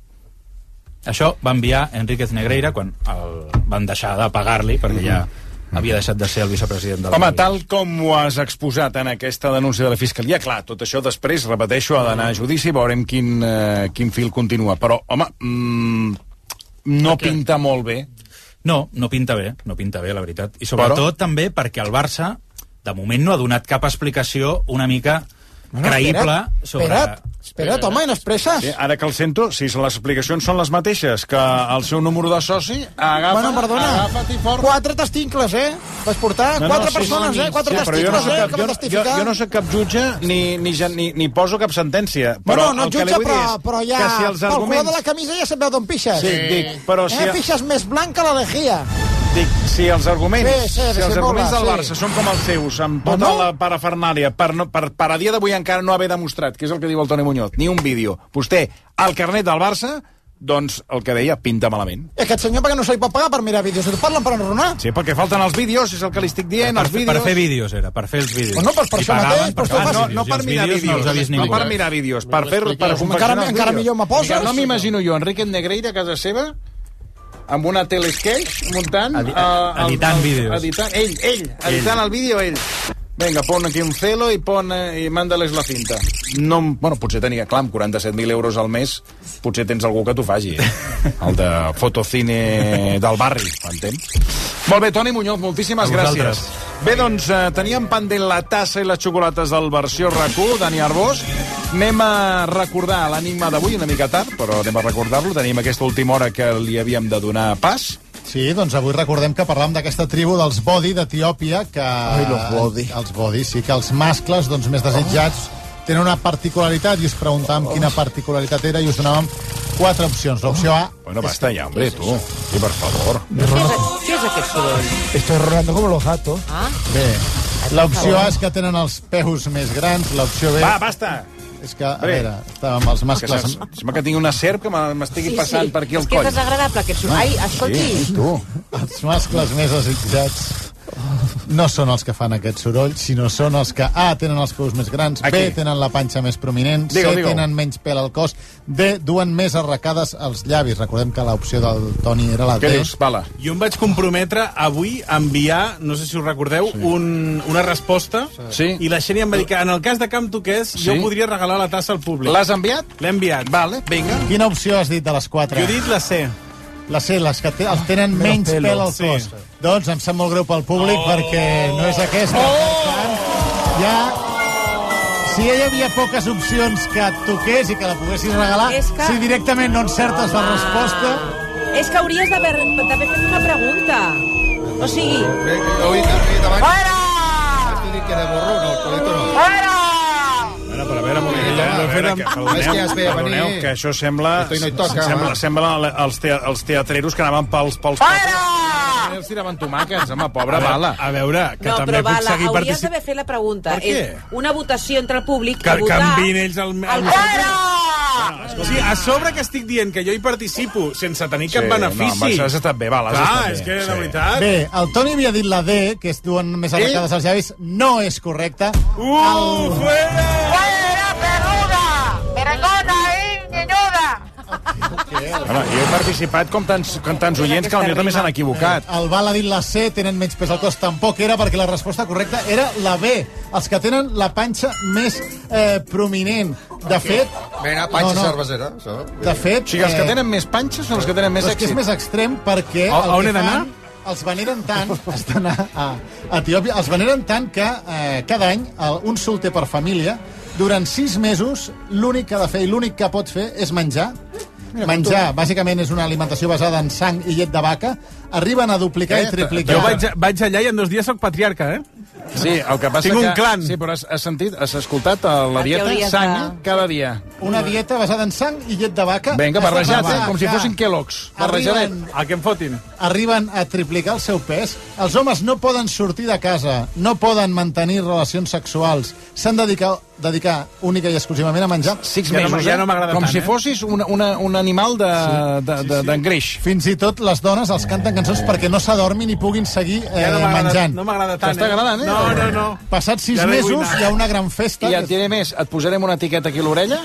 S24: Això va enviar Enríquez Negreira quan el van deixar de pagar-li perquè ja havia deixat de ser el vicepresident del
S6: Home, tal com ho has exposat en aquesta denúncia de la Fiscalia, clar, tot això després, repeteixo, ha d'anar a judici, veurem quin, eh, quin fil continua. Però, home, mm, no pinta molt bé
S24: No, no pinta bé, no pinta bé, la veritat. I sobretot Però... també perquè el Barça, de moment, no ha donat cap explicació una mica bueno, creïble
S14: espera't,
S24: sobre...
S14: espera't, espera't, home, i no expresses.
S6: Sí, ara que el sento, si les explicacions són les mateixes que el seu número de soci, agafa...
S14: bueno, perdona,
S6: Agafa,
S14: quatre testicles, eh? Vas portar no, quatre
S6: sí,
S14: persones,
S6: sí,
S14: eh? Quatre
S6: sí, però jo no
S14: testicles, eh?
S6: soc cap,
S14: Que va
S6: jo, jo,
S14: testificar.
S6: jo no soc cap jutge ni, ni, ja- ni, ni poso cap sentència. Però
S14: no, no,
S6: el que li
S14: jutge,
S6: vull dir
S14: però,
S6: és
S14: Ah, però ja...
S6: Que si
S14: Pel color
S6: els
S14: de
S6: arguments...
S14: la camisa ja se'n veu d'on pixes.
S6: Sí, dic, però si-
S14: Eh, pixes més blanc que la lejía.
S6: Dic, si els arguments,
S14: Sí, sí,
S6: si els
S14: sí,
S6: arguments
S14: mola,
S6: del
S14: sí.
S6: Barça són com els seus, amb tota la parafernàlia, per, no, per, per a dia d'avui encara no haver demostrat, que és el que diu el Toni Muñoz, ni un vídeo, vostè, el carnet del Barça, doncs el que deia, pinta malament.
S14: I Aquest senyor perquè no se li pot pagar per mirar vídeos. Et parlen per enronar.
S6: Sí, perquè falten els vídeos, és el que li estic dient, els vídeos...
S24: Per fer vídeos, era, per fer els vídeos.
S6: Bueno, per- per
S24: I
S6: això
S24: pagaven
S6: mateix,
S24: per
S6: però
S24: fer els
S6: no-
S24: vídeos,
S6: no
S24: i
S6: per
S24: els
S6: mirar
S24: vídeos no els ha vist
S6: vídeos,
S24: ningú.
S6: no per mirar vídeos, per fer- per confeccionar
S14: encara,
S6: els
S14: encara
S6: vídeos.
S14: millor me poses.
S6: Mira, no m'imagino jo Enrique Negreira a casa seva amb una telesketch muntant...
S24: Edi-
S6: eh, el-
S24: editant
S6: el-
S24: vídeos.
S6: Editant, ell, ell, editant el vídeo, ell. Venga, pon aquí un celo i pon eh, i manda-les la cinta. No, em- bueno, potser tenia, clar, amb 47.000 euros al mes, potser tens algú que t'ho faci. eh? El de fotocine del barri, m'entens? Molt bé, Toni Muñoz, moltíssimes
S24: A vosaltres.
S6: gràcies. Bé, doncs, eh, teníem pendent la tassa i les xocolates del versió RAC1, Dani Arbós. Anem a recordar l'enigma d'avui, una mica tard, però anem a recordar-lo. Tenim aquesta última hora que li havíem de donar pas.
S27: Sí, doncs avui recordem que parlam d'aquesta tribu dels Bodi d'Etiòpia, que... Ai,
S6: los Bodhi.
S27: Els Bodi, sí, que els mascles doncs, més desitjats tenen una particularitat i us preguntàvem
S6: Oh.
S27: quina particularitat era i us donàvem quatre opcions. L'opció A...
S6: Bueno, basta ya, hombre, tú. Sí, por favor.
S12: Què és aquest soroll?
S27: Estoy rodando como los gatos.
S12: Ah?
S27: Bé, l'opció A és que tenen els peus més grans, l'opció B...
S6: Va, basta!
S27: És que, a
S6: Bé.
S27: veure, estàvem els
S6: Que
S27: mascles...
S6: sem- Sembla que tingui una serp que me- m'estigui passant per aquí al coll.
S12: desagradable aquest soroll. Ai, escolti.
S27: Ah, Sí, tu. Els mascles més desitjats no són els que fan aquest soroll, sinó són els que A, tenen els peus més grans,
S6: Aquí.
S27: B, tenen la panxa més prominent,
S6: Digue-ho,
S27: C,
S6: digue-ho.
S27: tenen menys pèl al cos, D, duen més arracades als llavis. Recordem que l'opció del Toni era la D.
S6: Pala?
S3: Jo em vaig comprometre avui a enviar, no sé si us recordeu, sí. un, una resposta
S6: Sí.
S3: i la Xènia em va dir que en el cas de Camp Toqués sí. jo
S27: Sí.
S3: podria regalar la tassa al públic.
S27: L'has enviat?
S3: L'he enviat.
S6: Vale, vinga.
S27: Quina opció has dit de les quatre?
S3: Jo he dit la C.
S27: La C, les que te, els tenen menys
S3: pelo.
S27: pèl al
S3: Sí. Oh.
S27: cos. Doncs em sap molt greu pel públic perquè no és aquesta. Per tant, ja... Si ja hi havia poques opcions que et toqués i que la poguessis regalar,
S12: És que- Ah.
S27: si directament no encertes la resposta...
S12: És que hauries d'haver d'haver fet una pregunta. O sigui...
S26: ¡Fuera!
S6: Bueno, però a veure, Molinilla, a veure, que, perdoneu,
S13: És que ja es veia venir.
S6: perdoneu, que això sembla...
S13: Esto no hi toca,
S6: sembla,
S13: home.
S6: sembla la- els, te, els teatreros que anaven pels... pels Para! Els tiraven tomàquets, home, pobra
S24: A veure,
S6: bala.
S24: a veure, que
S12: No,
S24: també
S12: però
S24: puc
S12: Bala,
S24: seguir
S12: hauries
S24: participant.
S12: d'haver fet la pregunta.
S24: Per què?
S12: És una votació entre el públic
S3: Que-
S12: i votar...
S3: canviïn ells el- el-
S12: Fora!
S3: Sí, a sobre que estic dient que jo hi participo sense tenir cap
S6: Sí,
S3: benefici.
S6: no, home, això has estat bé, Bala, has
S3: Clar,
S6: estat bé,
S3: és que,
S6: sí.
S3: la veritat...
S27: Bé, el Toni havia dit la D, que es duen més arracades als llavis, no és correcta. Uh,
S3: fuera!
S26: ¡Fuera, peluda! ¡Merengona y
S14: eh,
S26: ñeñuda!
S6: Home, jo he participat com tants, com tants oients que potser també s'han equivocat.
S27: El Val ha dit la C, tenen menys pes al cos. Tampoc era perquè la resposta correcta era la B. Els que tenen la panxa més eh, prominent. De fet...
S13: Mira, panxa
S27: No, no.
S13: cervesera. Això.
S27: De fet...
S13: O sigui, els que tenen
S27: més
S6: panxes són els que tenen més
S27: És que
S13: èxit.
S27: és més extrem perquè...
S13: A-
S27: el
S13: a on
S27: que
S13: he d'anar?
S27: fan- Els veneren tant, has d'anar a Etiòpia, els veneren tant que eh, cada any el, un solter per família, durant sis mesos, l'únic que ha de fer i l'únic que pot fer és menjar. Menjar, bàsicament, és una alimentació basada en sang i llet de vaca. Arriben a duplicar
S6: Eh,
S27: i triplicar.
S3: Jo vaig, vaig allà i en dos dies sóc patriarca, eh?
S6: Sí, el que passa
S3: Tinc
S6: que...
S3: un clan.
S6: Sí, però has, has sentit, has escoltat eh, la dieta
S27: hauries de-
S6: sanya cada dia.
S27: Una dieta basada en sang i llet de vaca.
S6: Vinga,
S27: Has de
S6: barrejat, eh?
S27: preparar
S6: Com si
S27: que
S6: fossin Kellogg's. Barrejadet.
S27: Arriben-
S3: El que em fotin.
S27: arriben a triplicar el seu pes, els homes no poden sortir de casa, no poden mantenir relacions sexuals, s'han de dedicar, dedicar única i exclusivament a menjar.
S6: Six mesos, eh? Com si fossis una, una, un animal d'engreix. De, de, de, d'engreix. Eh.
S27: Fins i tot les dones els canten cançons perquè no s'adormin i puguin seguir eh,
S3: Ja no m'agrada-
S27: menjant.
S3: no m'agrada tant,
S27: T'està
S3: eh?
S27: agradant, eh?
S3: No, no, no.
S27: Passats sis
S3: Ja no hi vull
S27: mesos
S3: anar.
S27: hi ha una gran festa.
S6: I et diré més, et posarem una etiqueta aquí a l'orella,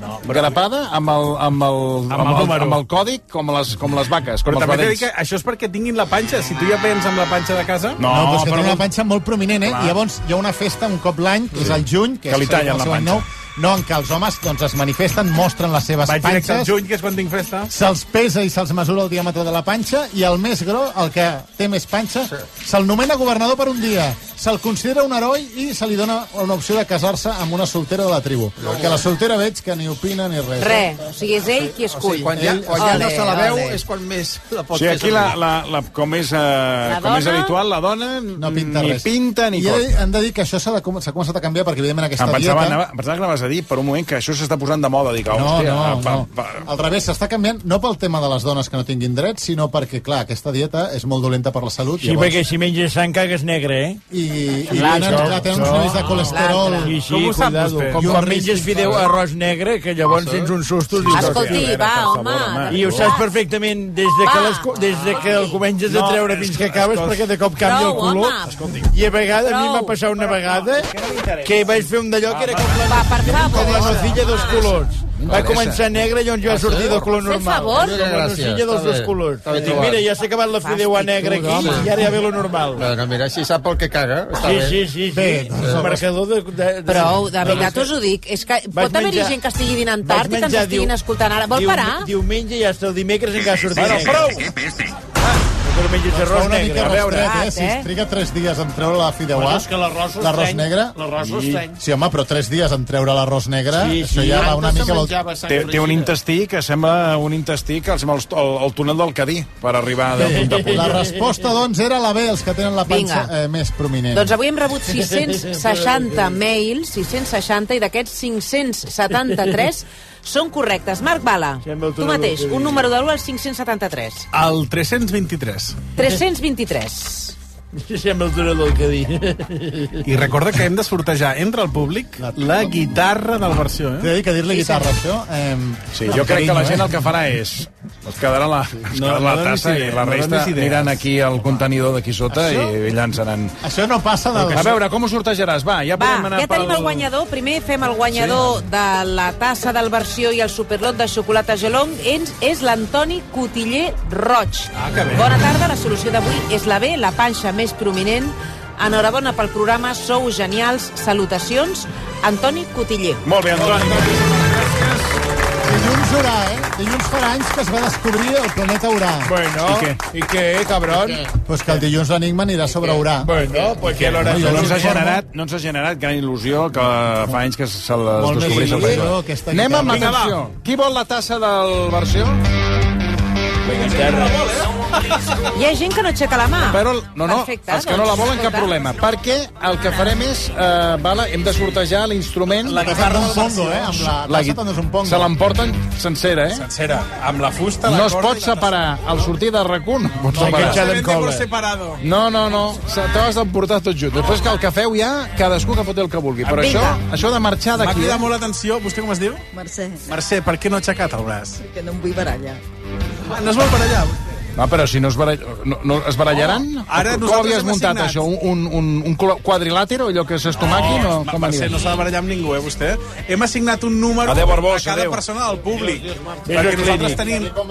S6: no, grapada amb el, amb el, amb,
S3: el
S6: amb, el,
S3: número.
S6: amb el còdic com les, com les vaques, com
S3: Però
S6: els
S3: també t'he de
S6: vedells.
S3: dir que això és perquè tinguin la panxa. Si tu ja vens amb la panxa de casa...
S27: No, no però és que té una panxa molt prominent, eh?
S3: Clar.
S27: I llavors hi ha una festa un cop l'any, que és el juny, que,
S3: Que li
S27: és el
S3: tallen la
S27: seu any
S3: panxa.
S27: nou, No, en què els homes doncs, es manifesten, mostren les seves
S6: Vaig directe al
S27: panxes,
S6: juny, que és quan tinc festa.
S27: se'ls pesa i se'ls mesura el diàmetre de la panxa, i el més gros, el que té més panxa, se'l nomena governador per un dia, se'l considera un heroi i se li dona una opció de casar-se amb una soltera de la tribu. Que la soltera veig que ni opina ni res.
S12: Re, o sigui, és ell qui
S27: O
S12: escull.
S27: sigui, quan ja- quan
S13: ja no se la veu,
S12: ole.
S13: és quan més la
S6: O
S13: pot
S6: sigui,
S13: fer
S6: aquí, la, la, la, com, és, eh, com és
S27: dona-
S6: habitual, la dona no
S27: pinta
S6: ni
S27: res.
S6: pinta ni
S27: I ell,
S6: corta.
S27: hem de dir que això s'ha de com- s'ha començat a canviar perquè, evidentment, aquesta
S6: Em pensava,
S27: dieta...
S6: anava, em pensava que anaves a dir per un moment que això s'està posant de moda. Dic, oh,
S27: No,
S6: hòstia,
S27: no,
S6: pa,
S27: no.
S6: pa,
S27: Al revés, s'està canviant no pel tema de les dones que no tinguin drets, sinó perquè, clar, aquesta dieta és molt dolenta per la salut.
S11: Sí, perquè si menges sang cagues negre, eh?
S27: I, i tenen, clar, tenen uns nivells de colesterol.
S11: Sí, sí,
S27: Com ho sap
S11: cuidado.
S27: vostè?
S11: Com
S27: I un
S11: quan
S27: risc
S11: menges fideu
S27: d'infarts.
S11: arròs negre, que llavors tens uns sustos... i tot.
S12: Escolti, va, home.
S11: I ho saps perfectament des de que,
S12: Va.
S11: les, des de que el comences a
S6: No,
S11: treure
S6: és
S11: fins
S6: que-
S11: que acabes,
S6: escolti.
S11: perquè de cop canvia el
S12: Prou, home.
S11: color. I a vegades, a mi em va passar una vegada que vaig fer un d'allò que era com la,
S12: Va, per
S11: com la
S12: favor.
S11: nocilla dos colors. Va començar negre, llavors
S27: Ah,
S11: va sortir de color
S12: Per
S11: normal.
S12: favor.
S11: Com la nocilla dels dos colors. Dic, mira, ja s'ha acabat la fideuà negra aquí i ara ja ve lo normal.
S13: Bueno, mira, si sap el que caga, està
S11: Sí,
S13: bé.
S11: sí, sí, sí.
S13: Bé, doncs,
S11: El marcador de... de, de
S12: Prou, de veritat us ho dic. És que pot haver-hi
S11: menjar-
S12: gent que estigui dinant
S11: Vaig
S12: tard i que ens
S11: menjar,
S12: estiguin
S11: diu-
S12: escoltant ara. Vol
S11: diu-
S12: parar?
S11: Diumenge i hasta el dimecres encara sortirà.
S27: Bueno,
S11: Ah,
S27: Doncs
S11: Però menges
S27: Fa
S11: arròs
S27: una mica
S11: negre. A veure,
S27: restret, eh? Si es triga 3 dies en treure la fideuà...
S11: Bueno, és que l'arròs ho
S27: l'arròs
S11: estreny.
S27: negre...
S11: L'arròs ho
S27: Sí.
S11: estreny.
S27: Sí, home, però 3 dies en treure l'arròs negre...
S6: Sí,
S27: això
S6: sí.
S27: ja va
S6: Abans
S27: una
S6: se
S27: mica... vol-
S6: menjava Té, té un intestí que sembla un intestí que els, el, el, el túnel del Cadí per arribar de punt a punt.
S27: La resposta, doncs, era la B, els que tenen la panxa
S12: Vinga.
S27: eh, més prominent.
S12: Doncs avui hem rebut 660 mails, 660, i d'aquests 573 són correctes. Marc Bala, tu mateix, un número de l'1 al 573.
S28: El 323.
S12: 323.
S11: Sembla el túnel del Cadí.
S28: I recorda que hem de sortejar entre el públic la guitarra del versió, eh?
S27: T'he de dir que dir-li
S28: Sí,
S27: guitarra,
S28: senyor.
S27: això... Eh,
S6: Sí, jo crec que la gent el que farà és... Es quedarà la, es
S27: No,
S6: quedarà la
S27: no donis
S6: tassa i
S27: idees,
S6: la
S27: no
S6: resta
S27: donis idees.
S6: aniran aquí al contenidor d'aquí sota
S27: Això-
S6: i llançaran...
S27: Això no passa del...
S6: A veure, com ho sortejaràs? Va, ja
S12: Va,
S6: podem anar
S12: ja tenim el guanyador. Primer fem el guanyador de la tassa del versió i el superlot de xocolata Gelong. És, és l'Antoni Cotiller Roig. Ah,
S28: que bé.
S12: Bona tarda, la solució d'avui és la B, la panxa més prominent. Enhorabona pel programa, sou genials. Salutacions, Antoni Cotiller.
S6: Molt bé, Antoni.
S27: Dilluns Urà, eh? Dilluns farà anys que es va descobrir el planeta Urà.
S11: Bueno,
S27: I què?
S11: ¿y qué, cabrón?
S27: Pues que el dilluns l'enigma anirà sobre Urà.
S11: Bueno, pues que l'hora...
S6: No, no ens ha
S27: informo.
S6: generat, no ens ha generat gran il·lusió que fa anys que se les
S27: Molt més
S6: descobreix el
S27: il·lusió,
S6: país.
S27: aquesta
S6: Anem amb
S27: guitarra.
S6: l'atenció. Qui vol la tassa del versió?
S12: Hi ha gent que no aixeca la mà.
S6: Però, no, no,
S12: Perfecte,
S6: els que no la
S12: doncs,
S6: volen, cap
S12: escolta.
S6: problema. Perquè el que farem és, eh, Bala, hem de sortejar l'instrument...
S27: La guitarra d'un pongo, eh? Amb la- la
S6: gui-
S27: tassa també és un pongo.
S6: Se l'emporten sencera, eh?
S28: Sencera, amb la fusta, la
S6: No es
S28: corda
S6: pot
S28: i la
S6: separar al sortir de racun. No, pots
S28: Vende
S6: separar.
S28: por separado.
S6: No, no, no. Se- T'ho has d'emportar tot junts. Després que el que feu ja, cadascú que foti el que vulgui. Però això,
S28: Vinga.
S6: això de marxar
S28: M'ha
S6: d'aquí...
S28: cridat
S6: Eh?
S28: molt l'atenció. Vostè com es diu?
S10: Mercè,
S28: Mercè, per què no ha aixecat el braç?
S10: que no em vull barallar.
S28: Ah, No es vol barallar?
S6: No, Ah, però si no es, barall... no, no es barallaran...
S28: Oh, ara
S6: Com
S28: nosaltres
S6: havies
S28: hem
S6: muntat,
S28: assignat.
S6: això? Un, un, un clo- quadrilàtero, allò que s'estomaqui? No,
S28: Ma-
S6: com
S28: Mercè,
S6: anirà?
S28: no s'ha de barallar amb ningú, eh, vostè? Hem assignat un número
S6: Adéu, Barbós,
S28: a cada
S6: adéu.
S28: persona del públic.
S11: Vés al
S28: perquè nosaltres
S11: clínic.
S28: tenim...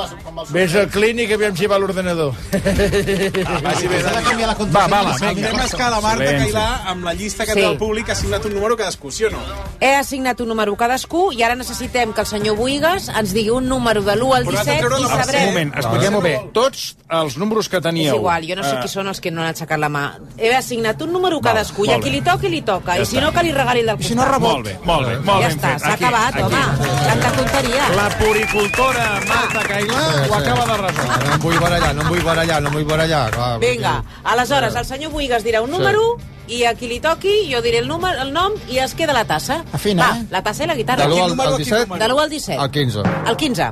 S11: Vés al clínic, aviam si va l'ordenador.
S27: Ah,
S28: Vagi bé,
S27: S'ha de canviar la
S28: Va, va,
S27: contrasenya.
S28: va. El tema és que la Marta
S11: Silenci.
S28: Cailà, amb la llista que
S12: Sí.
S28: té el públic, ha signat un número cadascú, sí o no?
S12: He assignat un número cadascú i ara necessitem que el senyor Buigas ens digui un número de l'1 al
S28: Però has de
S12: 17
S28: treure
S12: i
S28: la
S6: Un
S12: sabrem...
S6: moment, expliquem-ho bé. Tots els números que
S12: És
S6: teníeu...
S12: igual, jo no sé
S6: eh,
S12: qui són els que no han aixecat la mà. He assignat un número cadascú i
S6: molt
S12: a qui
S6: bé.
S12: li toca, li toca.
S6: Ja
S12: I si
S6: està.
S12: no, que li regali el del costat.
S6: Molt bé, molt bé. Molt
S12: ja
S6: ben
S12: està,
S6: fet.
S12: s'ha
S6: Aquí,
S12: acabat,
S6: aquí.
S12: home. Tanta tonteria.
S6: La puricultora Marta Cailà ho acaba de resoldre.
S13: No em vull barallar, no em vull barallar, no em vull barallar. Va,
S12: Vinga, aleshores, el senyor Buigas dirà un número i a qui li toqui jo diré el, número, el nom i es queda la tassa.
S13: Afina,
S6: eh?
S12: Va, la tassa i la guitarra.
S13: De l'u al- al 17?
S12: De l'1 al 17.
S13: El 15.
S12: El 15.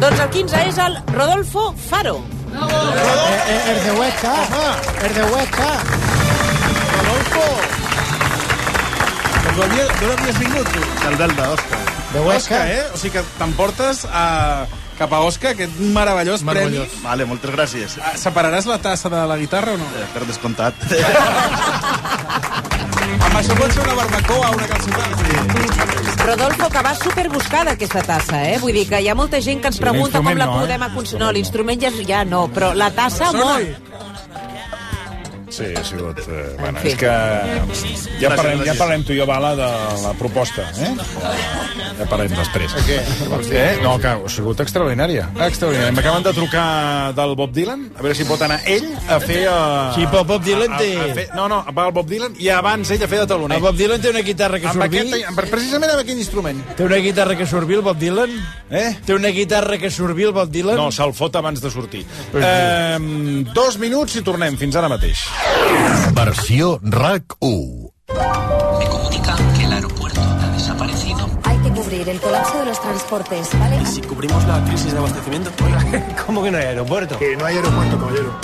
S12: Doncs el 15 és el Rodolfo Faro.
S6: Eh,
S14: Erdehueca, Erdehueca. Doncs
S28: D'on havies vingut, tu? Del Delta, Òscar.
S14: De Huesca.
S28: Òscar, eh? O sigui que t'emportes a... cap a Òscar, aquest meravellós,
S15: Meravellós.
S28: premi.
S15: Vale, moltes gràcies.
S28: Ah, Separaràs la tassa de la guitarra o no?
S15: Eh, Per descomptat.
S28: Amb això pot ser una barbacoa, una calçotada.
S12: Rodolfo, que va superbuscada aquesta tassa, eh? Vull dir que hi ha molta gent que ens
S28: Sí,
S12: pregunta com
S28: l'instrument
S12: la
S28: no, eh?
S12: podem aconseguir. No, l'instrument ja, ja no, però la tassa
S28: Sona.
S12: molt.
S6: Sí, ha sigut... Eh, bueno, és que eh, ja parlem, ja parlem tu i jo, Bala, de la proposta, eh? Ja parlem després. Què? Eh? No, que ha sigut extraordinària. Extraordinària. M'acaben de trucar del Bob Dylan, a veure si pot anar ell a fer... A,
S11: Sí, però Bob Dylan
S6: a- a-
S11: té-
S6: A, fer, no, no, va el Bob Dylan i abans ell a fer de taloner.
S11: El Bob Dylan té una guitarra que
S6: Amb
S11: surt
S6: aquest-
S11: vi.
S6: amb- precisament amb aquest instrument.
S11: Té una guitarra que surt vi, el Bob Dylan?
S6: Eh?
S11: Té una guitarra que surt vi, el Bob Dylan?
S6: No, se'l fot abans de sortir. Eh, dos minuts i tornem. Fins ara mateix.
S23: Versió RAC1.
S22: que el aeropuerto ha desaparecido.
S29: Hay que cubrir el colapso de los transportes, ¿vale?
S22: ¿Y si cubrimos la crisis de abastecimiento?
S30: ¿Cómo que no hay aeropuerto? Que no hay aeropuerto, caballero.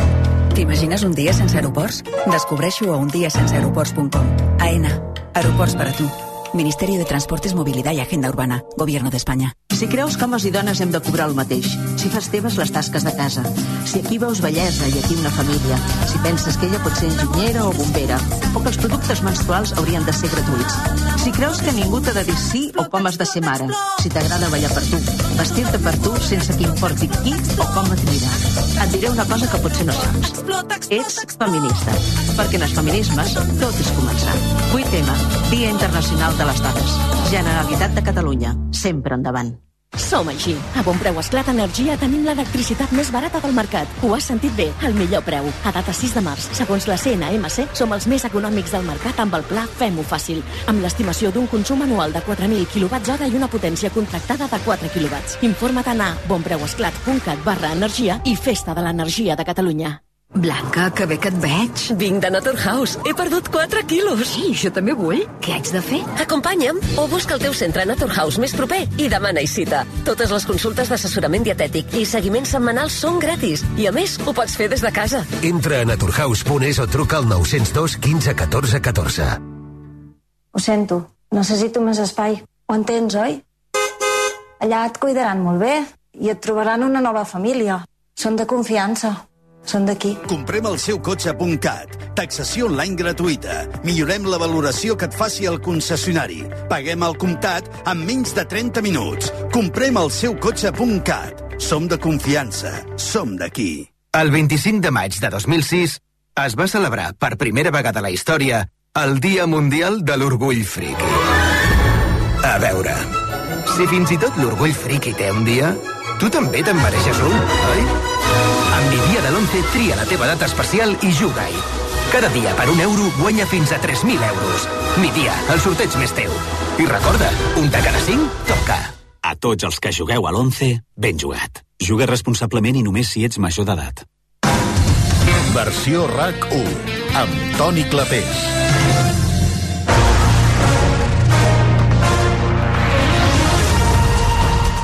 S31: T'imagines un dia sense aeroports? Descobreixo a undiasenseaeroports.com. AENA. Aeroports per a tu. Ministeri de Transportes, Movilidad y Agenda Urbana. Gobierno de España.
S2: Si creus que homes i dones hem de cobrar el mateix, si fas teves les tasques de casa, si aquí veus bellesa i aquí una família, si penses que ella pot ser enginyera o bombera, o que els productes menstruals haurien de ser gratuïts, si creus que ningú t'ha de dir sí o com has de ser mare, si t'agrada ballar per tu, vestir-te per tu sense que importi qui o com et mira. Et diré una cosa que potser no saps. Ets feminista, perquè en els feminismes tot és començar. 8M, Dia Internacional de les Dones. Generalitat de Catalunya, sempre endavant.
S28: Som així. A bon preu Esclat Energia tenim l'electricitat més barata del mercat. Ho has sentit bé, el millor preu. A data 6 de març, segons la CNMC, som els més econòmics del mercat amb el pla Fem-ho fàcil, amb l'estimació d'un consum anual de 4.000 kWh i una potència contractada de 4 kW. Informa't a bonpreuesclat.cat barra energia i Festa de l'Energia de Catalunya.
S17: Blanca, que bé que et veig. Vinc de Naturhaus. He perdut 4 quilos. I jo també vull. Què haig de fer?
S28: Acompanya'm o busca el teu centre Naturhaus més proper i demana i cita. Totes les consultes d'assessorament dietètic i seguiments setmanals són gratis i, a més, ho pots fer des de casa.
S32: Entra a naturhaus.es o truca al 902 15 14 14.
S14: Ho sento, necessito més espai. Ho entens, oi? Allà et cuidaran molt bé i et trobaran una nova família. Són de confiança. Són d'aquí.
S8: Comprem el seu cotxe.cat. Taxació online gratuïta. Millorem la valoració que et faci el concessionari. Paguem al comptat en menys de 30 minuts. Comprem el seu cotxe.cat. Som de confiança. Som d'aquí.
S20: El 25 de maig de 2006 es va celebrar per primera vegada a la història el Dia Mundial de l'Orgull Friki. A veure, si fins i tot l'orgull friki té un dia, tu també te'n mereixes un, oi? Amb mi dia de l'11 tria la teva data especial i juga-hi. Cada dia per un euro guanya fins a 3.000 euros. Mi dia, el sorteig més teu. I recorda, un de cada cinc toca.
S22: A tots els que jugueu a l'11, ben jugat. Juga responsablement i només si ets major d'edat.
S23: Versió RAC1 amb Toni Clapés.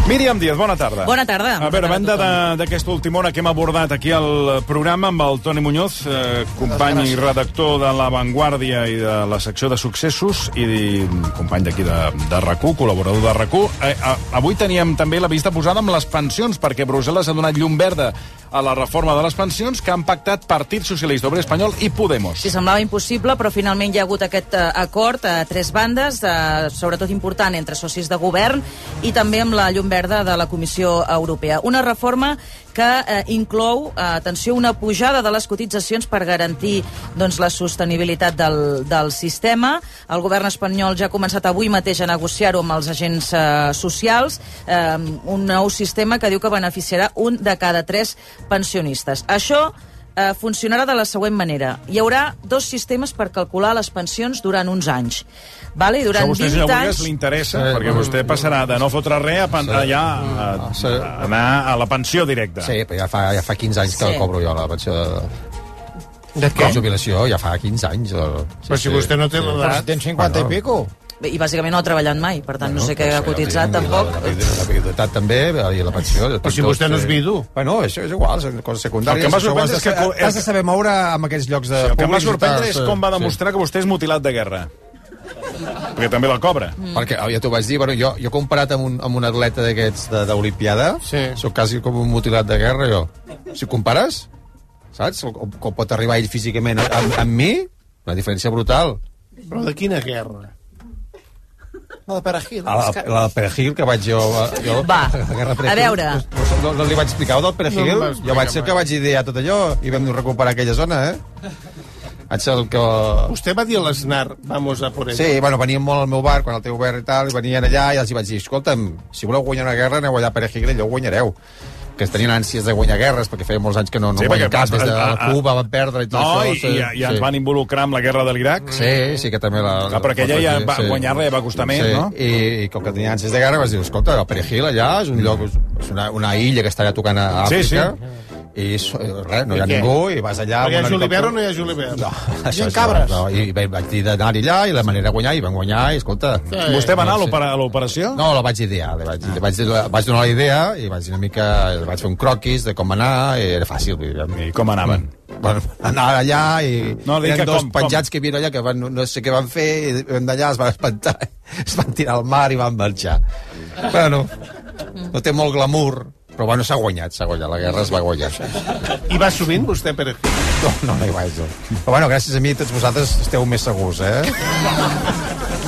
S6: Míriam Díaz, bona tarda.
S26: Bona tarda.
S6: A veure, a banda de- d'aquesta última hora que hem abordat aquí al programa amb el Toni Muñoz, eh, company i redactor de La Vanguardia i de la secció de successos i company d'aquí de, de RAC1, col·laborador de RAC1. Eh, a, avui teníem també la vista posada amb les pensions, perquè Brussel·les ha donat llum verda a la reforma de les pensions que han pactat Partit Socialista Obrer Espanyol i Podemos.
S33: Sí, semblava impossible, però finalment hi ha hagut aquest eh, acord a tres bandes, eh, sobretot important entre socis de govern i també amb la llum verda de la Comissió Europea. Una reforma que eh, inclou, eh, atenció, una pujada de les cotitzacions per garantir doncs, la sostenibilitat del, del sistema. El govern espanyol ja ha començat avui mateix a negociar-ho amb els agents eh, socials, eh, un nou sistema que diu que beneficiarà un de cada tres pensionistes. Això eh, funcionarà de la següent manera. Hi haurà dos sistemes per calcular les pensions durant uns anys. Vale? I durant
S6: Això a vostè,
S33: 20
S6: senyor Burgues,
S33: anys...
S6: li interessa, sí, perquè vostè passarà de no fotre res a, pan, allà, a, a anar a la pensió directa.
S13: Sí, però ja fa, ja fa 15 anys que
S6: Sí.
S13: sí. cobro jo la pensió de... De
S6: què?
S13: La jubilació, ja fa 15 anys. El... Sí,
S14: Però si vostè no té l'edat. Però si tens 50 i
S13: pico.
S33: Bé, I bàsicament no ha treballat mai, per tant, no, sé què ha cotitzat tampoc.
S13: La viudetat també, i la pensió...
S14: Però si vostè no és vidu.
S13: Bueno, això és igual, són coses secundàries.
S6: El que em va
S13: Això ho has de
S6: sorprendre és que-
S13: saber- Has de saber moure amb aquests llocs de...
S6: El que em va
S13: públics i
S6: sorprendre
S13: tal,
S6: és
S13: sí,
S6: com va
S13: sí.
S6: demostrar que vostè és mutilat de guerra. Perquè també la cobra.
S13: Mm. Perquè ah, ja t'ho vaig dir, bueno, jo, jo comparat amb un, amb un atleta d'aquests de- d'Olimpiada, sí. sóc quasi com un mutilat de guerra, jo. Si compares, saps? Com, com pot arribar ell físicament a- amb, amb mi, una diferència brutal.
S14: Però de quina guerra?
S34: No, de perejil.
S13: A la, la del Perejil, que vaig jo... a- jo
S33: Va,
S13: la guerra
S33: a veure.
S13: No, no, no, li vaig explicar el del Perejil?
S14: No em va
S13: No jo vaig ser el que vaig idear tot allò i vam recuperar aquella zona, eh? Vaig el que...
S11: Vostè va dir a l'Esnar, vamos a por ello.
S13: Sí, bueno, venien molt al meu bar, quan el teu obert i tal, i venien allà i els hi vaig dir, escolta'm, si voleu guanyar una guerra, aneu allà a Perejil i allò guanyareu que es tenien ànsies de guanyar guerres, perquè feia molts anys que no, no
S6: Sí,
S13: sí,
S6: perquè
S13: guanyen cap,
S6: va-
S13: des de
S6: a-
S13: la
S6: a-
S13: Cuba van perdre i tot
S6: No, i,
S13: això.
S6: i, i ens van involucrar amb la guerra de l'Iraq.
S13: Sí, sí que també la...
S6: Clar, però aquella ja va- guanyar-la ja va costar més, no?
S13: I, I com que tenia ànsies de guerra vas dir, escolta, el Perejil allà és un lloc, és una, una illa que estarà tocant a
S11: Sí,
S13: Àfrica. I és- res, no hi ha
S11: I què?
S13: ningú, i vas allà... amb
S11: Perquè hi
S13: un
S11: ha Julivert o
S13: helicòpter.
S11: no hi ha Julivert? No,
S13: Això és- No, I vaig, vaig dir d'anar allà, i la manera de guanyar, i van guanyar, i escolta...
S6: Sí. Vostè va anar a l'opera-
S13: a l'operació? No, la vaig idear, la vaig, ah. vaig, la, vaig donar la idea, i vaig dir una mica... Vaig fer un croquis de com anar, i era fàcil. I,
S6: com anaven?
S13: Bueno, anar allà i...
S6: No, dic
S13: eren
S6: que
S13: dos
S6: com-
S13: penjats que hi havia allà que van, no sé què van fer, i d'allà es van espantar, es van tirar al mar i van marxar. Bueno, no té molt glamour, però bueno, s'ha guanyat, s'ha guanyat, la guerra es va guanyar.
S11: I va sovint, vostè, per exemple?
S13: No, no, no hi vaig, no. Però bueno, gràcies a mi tots vosaltres esteu més segurs, eh?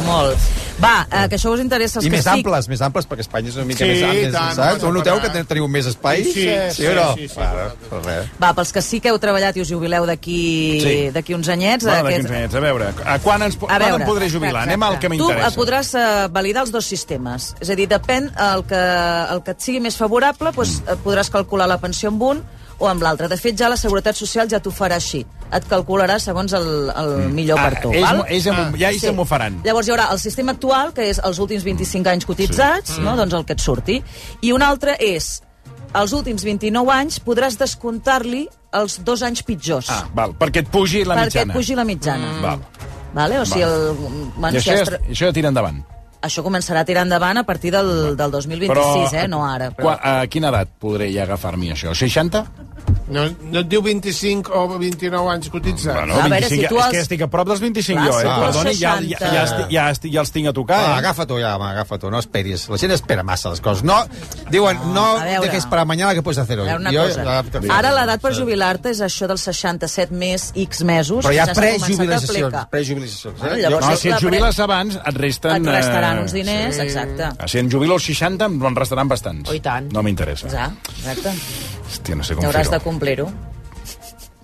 S33: Molt. Va, eh, que això us interessa.
S13: I
S33: que
S13: més
S33: sí-
S13: amples, més amples, perquè Espanya és una mica
S33: Sí,
S13: més
S33: i
S13: amples,
S33: tant,
S13: saps?
S33: home,
S13: Ho noteu que
S33: separat.
S13: teniu més espai?
S33: Sí, sí,
S13: sí, o no?
S33: sí, sí, sí.
S13: Bueno, doncs res.
S33: Va, pels que sí que heu treballat i us jubileu d'aquí
S6: Sí.
S33: d'aquí uns anyets...
S6: Bueno, d'aquí
S33: eh, que-
S6: uns anyets, a veure, a quan ens, po- quan em podré jubilar? Anem al que m'interessa.
S33: Tu eh, podràs eh, validar els dos sistemes. És a dir, depèn el que, el que et sigui més favorable, doncs,
S6: Mm.
S33: eh, podràs calcular la pensió amb un o amb l'altre. De fet, ja la Seguretat Social ja t'ho farà així. Et calcularà segons el, el millor per tu.
S6: Mm. Ah, ells
S33: val? Ah,
S6: m'ho- ells em- ja ells em ho faran.
S33: Llavors hi haurà el sistema actual, que és els últims 25 anys cotitzats,
S6: Sí.
S33: no?
S6: Mm.
S33: doncs el que et surti. I un altre és, als últims 29 anys podràs descomptar-li els dos anys pitjors.
S6: Ah, val, perquè et pugi la
S33: perquè
S6: mitjana. Mm.
S33: et pugi la mitjana.
S6: Val.
S33: Vale? O sigui,
S6: Val.
S33: el, bueno,
S6: I
S33: si
S6: això,
S33: has
S6: ja,
S33: tra-
S6: es- això ja tira endavant.
S33: això començarà a tirar endavant a partir del, del 2026, eh? no ara. Però...
S6: Qua, a quina edat podré ja agafar-m'hi això? 60?
S11: No, no et diu 25 o 29 anys cotitzats?
S6: Bueno, 25, És que estic a prop dels 25 jo, eh? Perdoni, ja, ja, ja, estic, ja, estic, ja els tinc a tocar.
S13: Ah,
S6: eh?
S13: agafa-t'ho ja, home, agafa-t'ho, no esperis. La gent espera massa les coses. No, diuen, no,
S33: a
S13: no
S33: veure.
S13: dejes para mañana que puedes hacer
S33: A
S13: hoy.
S33: veure una
S13: Jo-
S33: cosa.
S13: la-
S33: Ara l'edat per jubilar-te és això dels 67 més X mesos.
S13: Però hi ha
S33: que ja s'ha començat a
S13: prejubilacions,
S33: aplicar.
S13: Doncs prejubilacions.
S33: Bueno,
S13: Eh?
S33: Ah, llavors
S6: no,
S33: és
S6: si et
S33: la pre-
S6: jubiles abans, et resten...
S33: Et restaran
S6: eh,
S33: uns diners, exacte.
S6: Ah, Si em jubilo als 60, em restaran bastants.
S33: Oh, i tant.
S6: No m'interessa.
S33: Ja, exacte.
S6: Hòstia, no sé
S33: I
S6: com
S33: hauràs
S6: fer-ho.
S33: de complir-ho.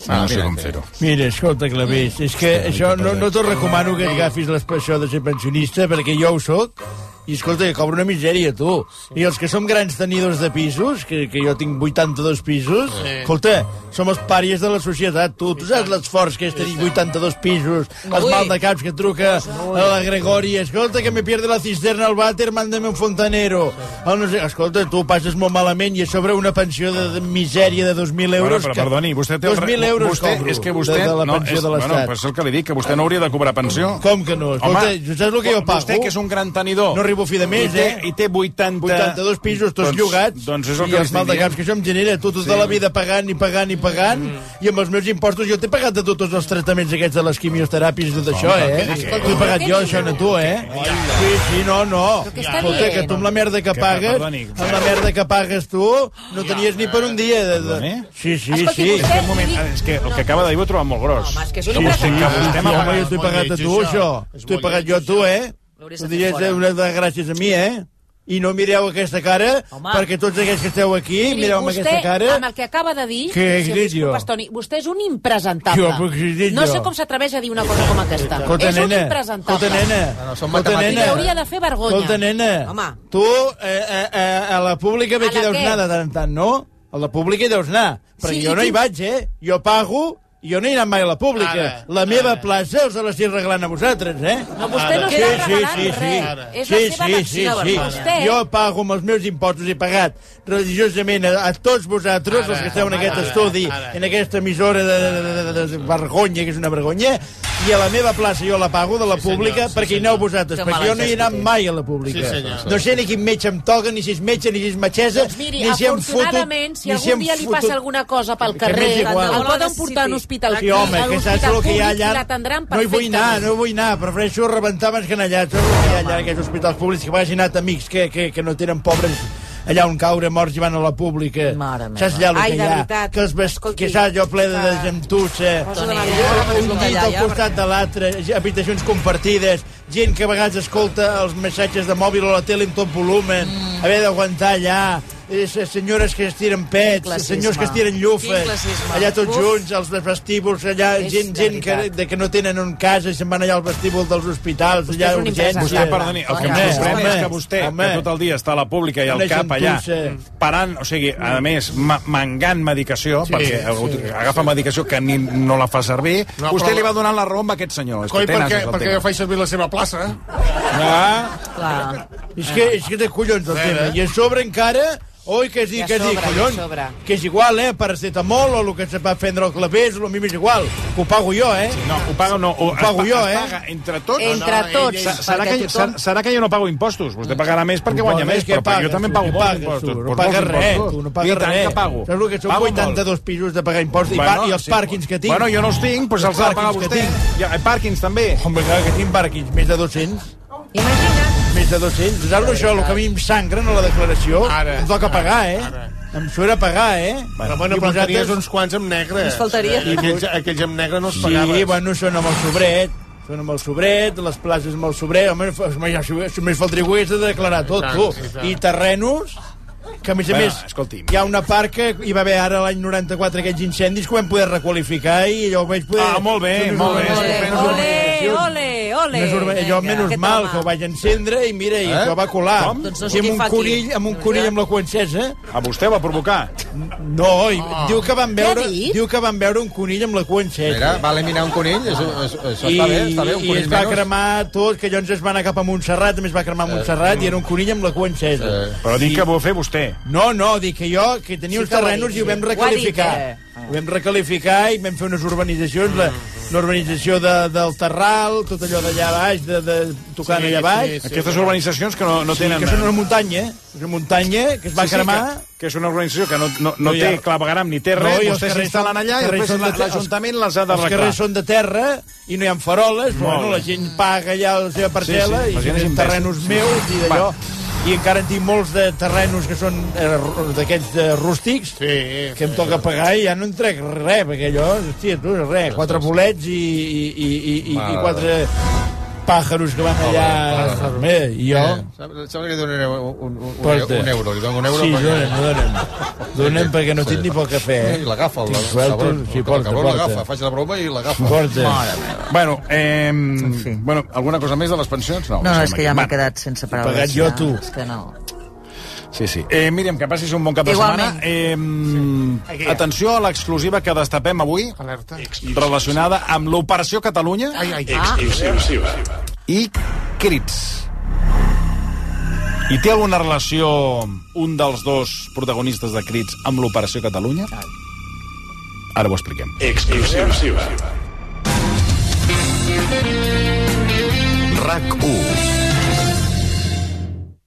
S6: Ah, no sé com fer-ho.
S11: Mira, escolta, Clavés,
S6: és que
S11: això no, no
S6: t'ho
S11: recomano que et agafis l'expressió de ser pensionista, perquè jo ho sóc, i escolta, que cobro una misèria, tu. I els que som grans tenidors de pisos, que, que jo tinc 82 pisos,
S22: Sí.
S11: escolta, som els pàries de la societat, tu. Tu saps l'esforç que és tenir 82 pisos, els
S22: Ui.
S11: mal de caps que truca a la Gregòria, escolta, que me pierde la cisterna al vàter, mándame un fontanero. El no sé, escolta, tu ho passes molt malament i a sobre una pensió de, de misèria de 2.000 euros...
S6: Bueno, però, perdoni, vostè té... el re-
S11: 2.000 euros
S6: vostè,
S11: cobro
S6: És que vostè...
S11: de, de la pensió
S6: és,
S11: de l'Estat.
S6: Bueno, però és el que li dic, que vostè no hauria de cobrar pensió.
S11: Com que no? Escolta, Home, saps el que jo pago?
S6: Vostè, que és un gran tenidor...
S11: No arribo a fi de mes,
S6: I té,
S11: eh?
S6: I té 80...
S11: 82 pisos, tots
S6: doncs,
S11: llogats,
S6: Doncs és el
S11: i
S6: que li
S11: els
S6: estic dient.
S11: maldecaps que això em genera, tu tota
S6: Sí.
S11: la vida pagant i pagant i pagant, i amb els meus impostos jo t'he pagat de tots els tractaments aquests de les quimioteràpies i tot això,
S6: Home,
S11: eh?
S6: què dius?
S11: T'ho he pagat jo, això, no tu, eh? Sí, sí, no, no. Escolta, que tu amb la merda que
S6: Que,
S11: pagues,
S6: perdoni.
S11: amb la merda que pagues tu, no tenies ni per un dia. de- de- Sí, sí,
S6: Escolti,
S11: sí.
S6: vostè- Un moment, és que el que acaba de dir ho he trobat molt gros.
S11: Home,
S6: és que
S11: és una
S6: que
S11: impressió.
S6: vostè
S11: Ah, Sí, home,
S6: m'ha pagat.
S11: jo t'he pagat a tu, això. T'ho he pagat jo a tu, eh? Ho diries eh, una de gràcies a mi, eh? I no mireu aquesta cara,
S12: Home.
S11: perquè tots aquests que esteu aquí,
S12: Miri,
S11: mireu amb
S12: vostè,
S11: aquesta cara...
S12: amb el que acaba de dir...
S11: Què he
S12: si em
S11: dit jo?
S12: disculpes, Toni, vostè és un impresentable.
S11: Jo, però què he dit
S12: no
S11: jo?
S12: sé com s'atreveix a dir una cosa com aquesta.
S11: Escolta,
S12: és
S11: nena,
S12: un impresentable.
S11: escolta, nena,
S13: No, no, són
S11: escolta,
S13: matemàtiques.
S12: Li
S11: nena.
S12: hauria de fer vergonya.
S11: Escolta, nena,
S12: Home,
S11: tu eh, eh, eh, a la pública
S12: A
S11: bé
S12: la
S11: que deus
S12: què?
S11: anar de tant en tant, no? A la pública hi deus anar, perquè
S12: Sí, i
S11: jo no hi
S12: quin-
S11: vaig, eh? Jo pago i jo no he anat mai a la pública.
S12: Ara,
S11: la meva plaça us l'estic regalant a vosaltres, eh?
S12: No, vostè no està regalant res. Ara. És la seva màxima vergonya. Vostè-
S11: Jo pago amb els meus impostos, he pagat religiosament a, a tots vosaltres, els que esteu en aquest estudi, en aquesta emissora de, de, de, de, de vergonya, que és una vergonya, i a la meva plaça jo la pago de la pública perquè hi aneu vosaltres,
S12: Que
S11: perquè jo no hi he anat
S12: malament.
S11: mai a la pública.
S12: Sí, senyor.
S11: No sé ni quin metge em toca, ni si és metge, ni si és metgessa,
S12: Doncs miri,
S11: ni si em fotut...
S12: afortunadament, si
S11: ni
S12: algun
S11: em
S12: dia li
S11: fotut-
S12: passa alguna cosa pel
S11: Que
S12: carrer,
S11: m'és igual.
S12: el poden portar a un hospital
S11: Sí, home,
S12: a un
S11: que saps
S12: hospital
S11: el que hi ha
S12: públic
S11: allà...
S12: i
S11: No
S12: l'atendran
S11: hi vull
S12: perfectament.
S11: anar, no hi vull anar. Prefereixo rebentar abans que anar allà. Saps el que hi ha allà en aquests hospitals públics? Que vagin anat amics que, que, que no tenen pobres allà on caure morts i van a la pública. Saps allà el
S12: Ai,
S11: que
S12: de
S11: hi ha?
S12: veritat.
S11: Que, els vest... que saps allò ple de
S12: que-
S11: gentussa,
S12: Cosa de
S11: un
S12: la
S11: dit
S12: merda.
S11: al costat de l'altre, habitacions compartides,
S12: Mm.
S11: gent que a vegades escolta els missatges de mòbil o la tele amb tot volumen, haver d'aguantar allà, és, eh, senyores que es tiren pets,
S33: Quin classisme.
S11: senyors que es tiren
S33: Quin
S11: llufes,
S33: classisme.
S11: allà tots
S33: Uf.
S11: junts, als vestíbuls, allà,
S33: És
S11: gent,
S33: de
S11: gent que,
S33: veritat.
S11: de, que no tenen un casa i se'n van allà al vestíbul dels hospitals, allà, urgències.
S6: Vostè, perdoni, el que em
S11: Home,
S6: sorprèn és
S11: home,
S6: que vostè,
S11: home.
S6: que tot el dia està a la pública i al
S11: Una
S6: cap allà,
S11: gentussa.
S6: parant, o sigui, a més, ma- mangant medicació,
S11: Sí,
S6: perquè
S11: sí,
S6: agafa medicació que ni, no la fa servir,
S3: No,
S6: vostè
S3: però-
S6: li va donant la raó a aquest senyor. És que
S3: Coi,
S6: té
S3: perquè,
S6: nassos, el
S3: perquè
S6: tema.
S3: jo faig servir la seva plaça.
S6: eh?
S11: Ah, clar. És que, és que té collons el tema. I a sobre encara... Oi, que és dir,
S14: I a
S11: que és dir,
S14: sobre, i a
S11: collons,
S14: sobre.
S11: que és igual, eh, paracetamol o el que se va prendre al clavés, o a mi m'és igual, que ho pago jo, eh?
S6: No, ho pago, no, ho,
S11: ho pago
S6: es
S11: jo,
S6: pa-
S11: eh?
S6: es paga entre tots.
S14: Entre tots,
S6: Se- Serà
S14: perquè
S6: que,
S14: tothom-
S6: serà, serà que jo no pago impostos. Vostè pagarà més perquè
S11: Tu
S6: guanya
S11: pagues,
S6: més,
S11: què
S6: però perquè
S11: pagues,
S6: jo també
S11: tu?
S6: pago
S11: Què
S6: molts
S11: pagues,
S6: impostos.
S11: tu? No
S6: Però
S11: pagues
S6: molts
S11: res,
S6: impostos.
S11: tu, no
S6: I
S11: pagues
S6: tant
S11: res.
S6: que pago.
S11: Saps el que són
S6: Pago
S11: 82
S6: molt.
S11: pisos de pagar impostos i par- i els
S6: sí.
S11: pàrquings que tinc?
S6: Bueno, jo no els tinc, doncs
S11: Els
S6: els ha de pagar
S11: pàrquings que
S6: vostè. Ja, eh, pàrquings també.
S11: Home, clar, que tinc pàrquings, més de 200. Imagina't. Més de 200. Saps això, el que a mi em sangra, no, la declaració? Ara. Em toca pagar, eh? Ara. Em surt a pagar, eh?
S3: Però, bueno,
S11: I
S3: però
S11: vosaltres-
S3: tenies uns quants amb negre.
S11: Ens faltaria.
S3: I aquells, aquells amb negre no els pagaves.
S11: Sí, bueno, són amb el sobret, són amb el sobret, les places amb el sobret, home, fa- home ja, si- si més faltaria que ho hagués de declarar tot,
S3: tant,
S11: tu.
S3: i tant.
S11: I terrenos, que a més a
S6: Bueno,
S11: més
S6: escolti'm.
S11: hi ha una part que hi va haver ara l'any 94 aquests incendis que ho vam poder requalificar i allò ho vaig poder...
S6: Ah, molt bé, molt bé.
S14: Ole, ole, ole.
S11: Més urba... allò menys mal que ho vaig encendre i mira, i
S6: Eh?
S11: eh? ho va colar.
S6: Com? Doncs no sé
S11: I amb
S6: qui
S11: un
S6: fa qui.
S11: conill, amb un conill amb la coencesa,
S6: A vostè va provocar.
S11: no, i
S6: Ah.
S11: diu que van
S6: Què ha
S11: veure,
S6: dit?
S11: diu que van veure un conill amb la cua encesa.
S13: Mira, va eliminar un conill, és, és, això està bé, està bé, un
S11: I
S13: conill
S11: es va
S13: menys. Eh.
S11: cremar tot, que llavors es va anar cap a Montserrat, també es va cremar a Montserrat, i era un conill amb la cua encesa.
S6: Però dic que ho va fer vostè.
S11: No, no, dic que jo, que tenia
S14: Sí
S11: uns
S14: que ho ha
S11: terrenos
S14: dit,
S11: i ho vam
S14: sí. Ho ha dit,
S11: recalificar.
S14: eh?
S11: Ho vam recalificar i vam fer unes urbanitzacions, la, l'urbanització de, del Terral, tot allò d'allà baix, de, de, tocant
S6: Sí,
S11: allà baix.
S6: sí, sí. Aquestes urbanitzacions que no- no
S11: sí,
S6: tenen-
S11: Que són una muntanya, una muntanya que es va
S6: Sí, sí,
S11: cremar...
S6: que, que és una organització que no, no, no,
S11: No hi ha-
S6: té clavegaram ni té
S11: No,
S6: res,
S11: i els
S6: vostès
S11: carrers
S6: s'instal·len
S11: són-
S6: allà i
S11: carrers
S6: després
S11: són de-
S6: la- l'Ajuntament les ha
S11: Els
S6: d'arreglar.
S11: carrers són de terra i no hi ha faroles, però
S6: Molt
S11: bueno,
S6: bé.
S11: la gent paga allà la seva parcel·la
S6: Sí, sí, la
S11: i
S6: gent és
S11: tenen
S6: imbècil.
S11: terrenos meus i d'allò. I encara en tinc molts de terrenos que són eh, ru- d'aquests eh, rústics sí, que em toca pagar i ja no en trec res, perquè allò, hòstia, tu, res, quatre bolets i, i, i, i, i, i
S13: Mare
S11: quatre pàjaros que van allà. Bé, i jo...
S13: Eh, sembla- Sembla que donaré un, un, un, un,
S11: Porta.
S13: un euro, li dono un euro.
S11: Sí,
S13: perquè-
S11: donem, donem. Donem perquè no tinc ni pel cafè, eh?
S13: Sí, L'agafa, el,
S11: Tinc
S13: el,
S11: suelto,
S13: cabron.
S11: sí,
S13: El
S11: porta,
S13: cabron
S11: porta.
S13: l'agafa, faig la broma i l'agafa.
S11: Porta.
S13: Mare meva.
S6: Bueno, eh, bueno, alguna cosa més de les pensions? No,
S33: No, no,
S6: deixem
S33: és que
S6: aquí.
S33: ja m'he
S6: Va.
S33: quedat sense paraules.
S6: pagat jo,
S33: ja.
S6: tu.
S33: És que no.
S6: Sí, sí. Eh, Míriam, que passis un bon cap de
S33: Igualment.
S6: setmana. Eh, sí. Atenció a l'exclusiva que destapem avui
S3: Alerta.
S5: Eh,
S6: relacionada amb l'Operació Catalunya ai, ai, ah.
S4: Exclusiva.
S6: i crits. I té alguna relació un dels dos protagonistes de crits amb l'Operació Catalunya? Ara ho expliquem.
S4: Exclusiva.
S35: RAC1.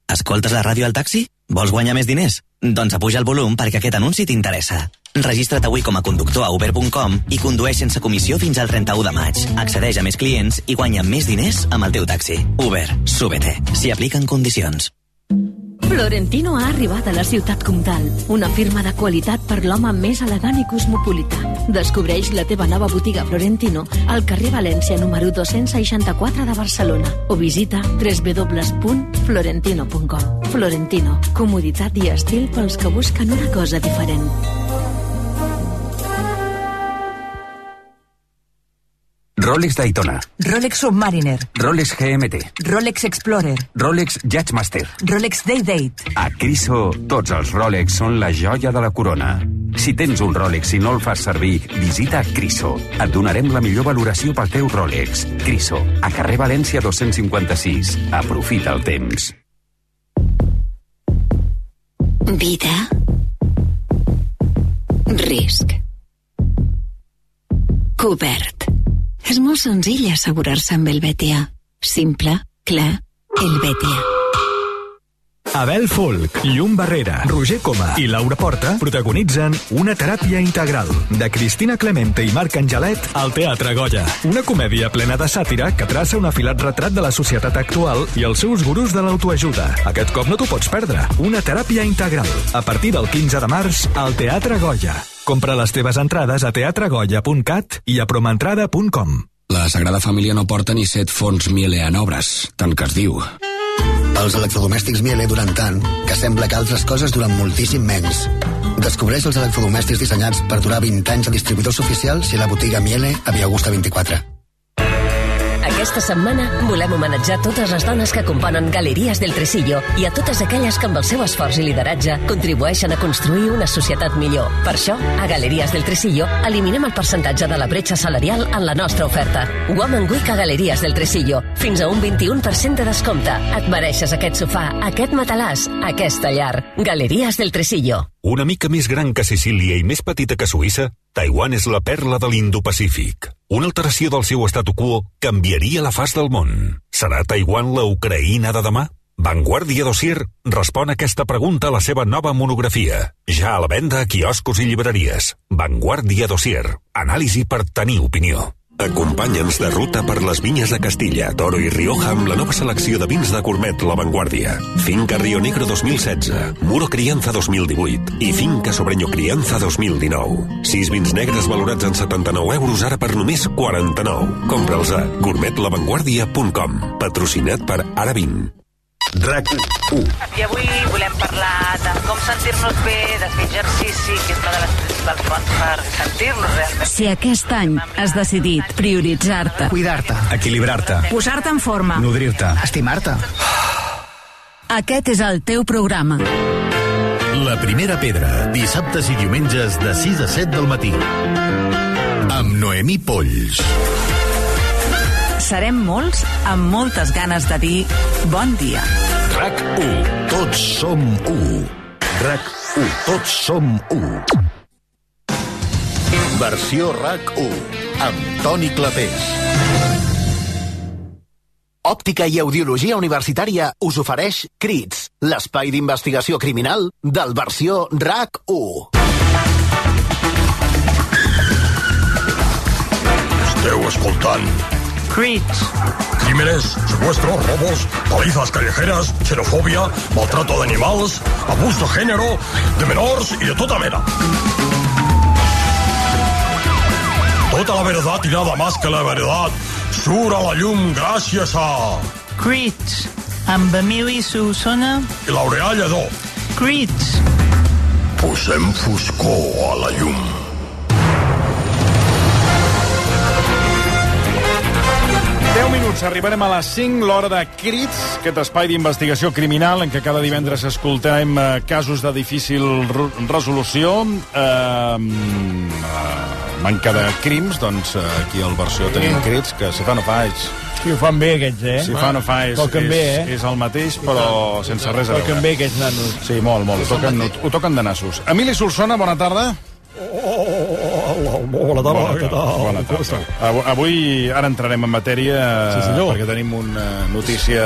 S1: Escoltes la ràdio al taxi? Vols guanyar més diners? Doncs apuja el volum perquè aquest anunci t'interessa. Registra't avui com a conductor a uber.com i condueix sense comissió fins al 31 de maig. Accedeix a més clients i guanya més diners amb el teu taxi. Uber, súbete. S'hi apliquen condicions.
S2: Florentino ha arribat a la ciutat comtal, una firma de qualitat per l'home més elegant i cosmopolita. Descobreix la teva nova botiga Florentino al carrer València número 264 de Barcelona o visita www.florentino.com. Florentino, comoditat i estil pels que busquen una cosa diferent.
S32: Rolex Daytona,
S36: Rolex Submariner,
S32: Rolex GMT,
S36: Rolex Explorer,
S32: Rolex Judgemaster.
S36: Rolex Day Date.
S32: A Criso, tots els Rolex són la joia de la corona. Si tens un Rolex i no el fas servir, visita Criso. Et donarem la millor valoració pel teu Rolex. Criso, a carrer València 256. Aprofita el temps.
S17: Vida. Risc. Cobert. És molt senzill assegurar-se amb el Betia. Simple, clar, el Betia.
S22: Abel Folk, Llum Barrera, Roger Coma i Laura Porta protagonitzen Una teràpia integral de Cristina Clemente i Marc Angelet al Teatre Goya. Una comèdia plena de sàtira que traça un afilat retrat de la societat actual i els seus gurus de l'autoajuda. Aquest cop no t'ho pots perdre. Una teràpia integral. A partir del 15 de març al Teatre Goya. Compra les teves entrades a teatregoya.cat i a promentrada.com. La Sagrada Família no porta ni set fons mille en obres, tant que es diu.
S27: Els electrodomèstics Miele duren tant que sembla que altres coses duren moltíssim menys. Descobreix els electrodomèstics dissenyats per durar 20 anys a distribuïdors oficials i a la botiga Miele a Via Augusta 24.
S28: Aquesta setmana volem homenatjar totes les dones que componen Galeries del Tresillo i a totes aquelles que amb el seu esforç i lideratge contribueixen a construir una societat millor. Per això, a Galeries del Tresillo eliminem el percentatge de la bretxa salarial en la nostra oferta. Woman Week a Galeries del Tresillo. Fins a un 21% de descompte. Et mereixes aquest sofà, aquest matalàs, aquesta llar. Galeries del Tresillo.
S15: Una mica més gran que Sicília i més petita que Suïssa, Taiwan és la perla de l'Indo-Pacífic. Una alteració del seu statu quo canviaria la faç del món. Serà Taiwan la Ucraïna de demà? Vanguardia Dossier respon a aquesta pregunta a la seva nova monografia. Ja a la venda a quioscos i llibreries. Vanguardia Dossier. Anàlisi per tenir opinió.
S32: Acompanya'ns de ruta per les vinyes de Castilla, Toro i Rioja amb la nova selecció de vins de Gourmet La Vanguardia. Finca Rio Negro 2016, Muro Crianza 2018 i Finca Sobreño Crianza 2019. Sis vins negres valorats en 79 euros ara per només 49. Compra'ls a gourmetlavanguardia.com. Patrocinat per Ara20. RAC 1.
S19: I avui volem parlar de com sentir-nos bé, de fer exercici, que és una de les principals fonts per sentir-nos realment.
S20: Si aquest any has decidit prioritzar-te, cuidar-te,
S21: Equilibrar-te.
S20: posar-te en forma,
S21: Nodrir-te. Estimar-te.
S20: aquest és el teu programa.
S23: La primera pedra, dissabtes i diumenges de 6 a 7 del matí. Amb Noemí Polls.
S8: Serem molts amb moltes ganes de dir bon dia.
S23: RAC 1. Tots som 1. RAC 1. Tots som 1. Versió RAC 1. Amb Toni Clapés.
S3: Òptica i Audiologia Universitària us ofereix Crits, l'espai d'investigació criminal del versió RAC1.
S9: Esteu escoltant... Crits. Crímenes, secuestros, robos, palizas callejeras, xenofobia, maltrato de animals, abús de género, de menors i de tota mena. Tota la verdad i nada más que la verdad surt a la llum gràcies a...
S37: Crits, amb Emili Solsona.
S9: I L'Aureà Lledó.
S37: Crits.
S9: Posem foscor a la llum.
S6: Deu minuts, arribarem a les 5, l'hora de Crits, aquest espai d'investigació criminal en què cada divendres escoltem eh, casos de difícil ru- resolució. Eh, eh, manca de crims, doncs eh, aquí al versió tenim Crits, que si fa no fa és...
S11: Sí, ho fan bé, aquests, eh?
S6: Si fa no fa és,
S11: Toquen
S6: és,
S11: bé, eh?
S6: és el mateix, però sense res a veure.
S11: Toquen bé, aquests nanos.
S6: Sí, molt, molt. Ho toquen, ho toquen de nassos. Emili Solsona, bona tarda.
S9: Hola, tarda, què tal?
S6: Bona tarda. Avui, avui ara entrarem en matèria sí, perquè tenim una notícia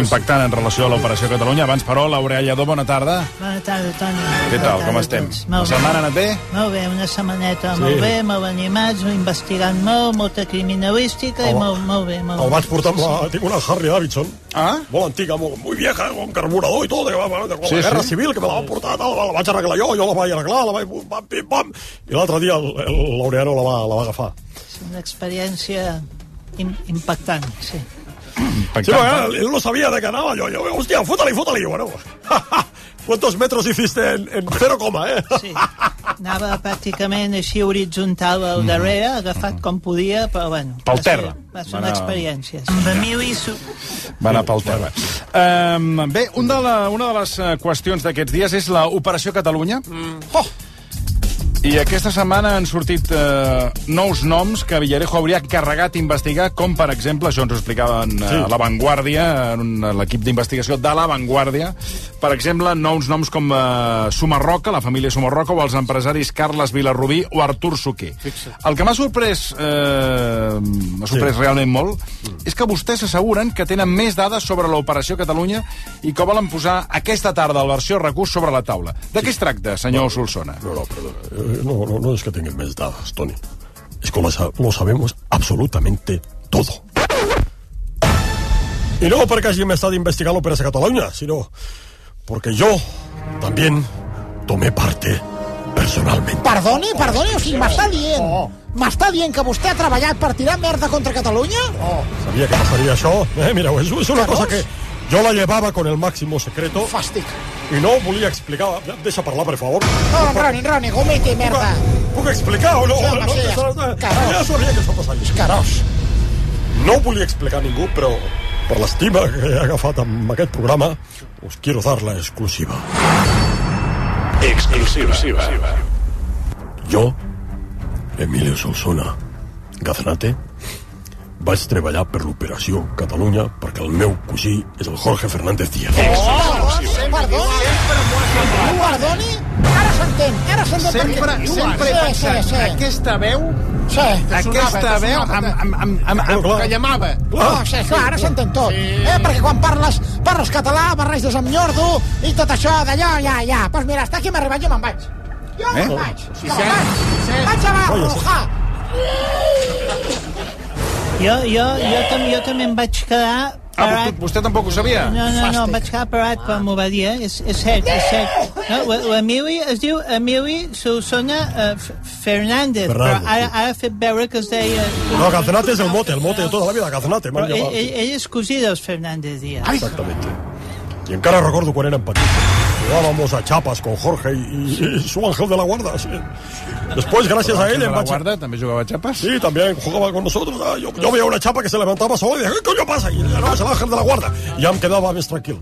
S6: impactant en relació a l'Operació Catalunya. Abans, però, Laurea Lledó, bona tarda.
S5: Bona tarda, Toni.
S6: Què tal, com estem? La setmana ha anat bé?
S5: Molt bé, una setmaneta
S6: Sí.
S5: sí. molt bé, molt animats, investigant molt, molta criminalística i
S9: Home.
S5: molt, molt bé. Molt
S9: El vaig portar amb la...
S5: Sí.
S9: Tinc una Harley Davidson.
S6: Ah?
S9: Molt antiga, molt, muy vieja, amb carburador i tot. Que va, va, de,
S6: Sí,
S9: la guerra
S6: sí.
S9: civil, que me la van portar, tal, la vaig arreglar jo, jo la vaig arreglar, la vaig... Pam, pim, pam. I l'altre dia el- el Laureano la va, la va agafar.
S5: És una experiència im impactant, sí.
S9: Sí, porque él no sabía de qué nada. Yo, yo, hostia, fútale, fútale. Y bueno, ¿cuántos metros hiciste en, en cero coma, eh?
S5: Sí. Anava pràcticament així horitzontal al darrere, agafat com podia, però bueno.
S6: Mhm. Pel
S5: va ser-
S6: terra.
S5: Va ser una
S6: Bueno.
S5: experiència. Sí. Amb Emili Su...
S6: Va anar pel terra. Um, bé, un de la, una de les eh, qüestions d'aquests dies és la Operació Catalunya. Mm. Oh! I aquesta setmana han sortit eh, nous noms que Villarejo hauria encarregat investigar, com per exemple, això ens ho explicaven eh,
S14: Sí.
S6: a La Vanguardia, en un- l'equip d'investigació de La Vanguardia, per exemple, nous noms com eh, Sumarroca, la família Sumarroca, o els empresaris Carles Vilarrubí o Artur Suquer. El que m'ha sorprès, eh, m'ha sorprès sí. realment molt, és que vostès asseguren que tenen més dades sobre l'operació Catalunya i que volen posar aquesta tarda el versió recurs sobre la taula. De què es tracta, senyor Solsona?
S9: No, no, perdona. Eh, No, no, no es que tengan más dadas, Tony. Es que lo, sa- lo sabemos absolutamente todo. Y no porque alguien me está investigando Pérez Cataluña, sino porque yo también tomé parte personalmente.
S14: Perdoni, perdoni, o sigui, m'està dient...
S26: Oh.
S14: M'està dient que vostè ha treballat per tirar merda contra Catalunya?
S9: Sabia que passaria això. Eh, mireu, és, és una cosa que, Yo la llevaba con el máximo secreto.
S14: Fàstic.
S9: Y no volia explicar... Deixa parlar, per favor.
S14: No, Roni, Roni, gomiti, merda.
S9: Puc explicar o no?
S14: Sí, home,
S9: no,
S14: sí,
S9: no,
S14: carós.
S9: ja sabia que això passaria.
S14: Carós.
S9: No volia explicar a ningú, però per l'estima que he agafat amb aquest programa, us quiero dar la exclusiva.
S23: Exclusiva.
S9: Jo, Emilio Solsona Gaznate, vaig treballar per l'Operació Catalunya perquè el meu cosí és el Jorge Fernández Díaz.
S5: Oh!
S14: Perdoni? Em Perdoni? Ara s'entén, ara s'entén.
S26: Sempre,
S14: perquè-
S26: sempre he
S14: Sí,
S26: pensat,
S14: sí, sí.
S26: aquesta veu...
S14: Sí.
S26: Aquesta
S14: Sonava,
S26: veu
S14: sonava.
S26: amb, amb, amb, amb, amb, que llamava.
S14: No, Oh, sí, Oh, clar, ara s'entén tot. Eh, perquè quan parles, parles català, barreges amb nyordo i tot això d'allò, ja, ja. Doncs pues mira, està aquí m'ha arribat, jo me'n vaig. Jo me'n
S26: Eh?
S14: vaig.
S26: Sí,
S14: Jo
S26: sí.
S14: me'n vaig. Vaig a Barroja.
S5: Jo, jo, jo, tam, jo també em vaig quedar
S6: Ah, però tu- vostè tampoc ho sabia?
S5: No, no, no, em vaig quedar parat quan m'ho va dir, eh? És, és cert, és cert. No, L'Emili es diu Emili Solsona eh, F- Fernández, però
S9: Fernández,
S5: ara, ara ha fet veure que es deia...
S9: No, Gaznate és el mote, el mote de tota la vida, Gaznate.
S5: Però
S9: m'han
S5: ell,
S9: llamat.
S5: ell, ell és cosí dels Fernández Díaz.
S9: Exactamente. Y encara recuerdo cuando eran patitos. Jugábamos a chapas con Jorge y, y- y su ángel de la guarda. sí. Después, gracias
S6: Però
S9: a él,
S6: Ángel de
S9: en
S6: la
S9: Bachi-
S6: guarda també jugava a xapes?
S9: Sí, también jugaba con nosotros. Ah, Yo, yo veía una chapa que se levantaba solo y decía, ¿qué coño pasa? Y le ganaba el ángel de la guarda. Y ya me quedaba más tranquilo.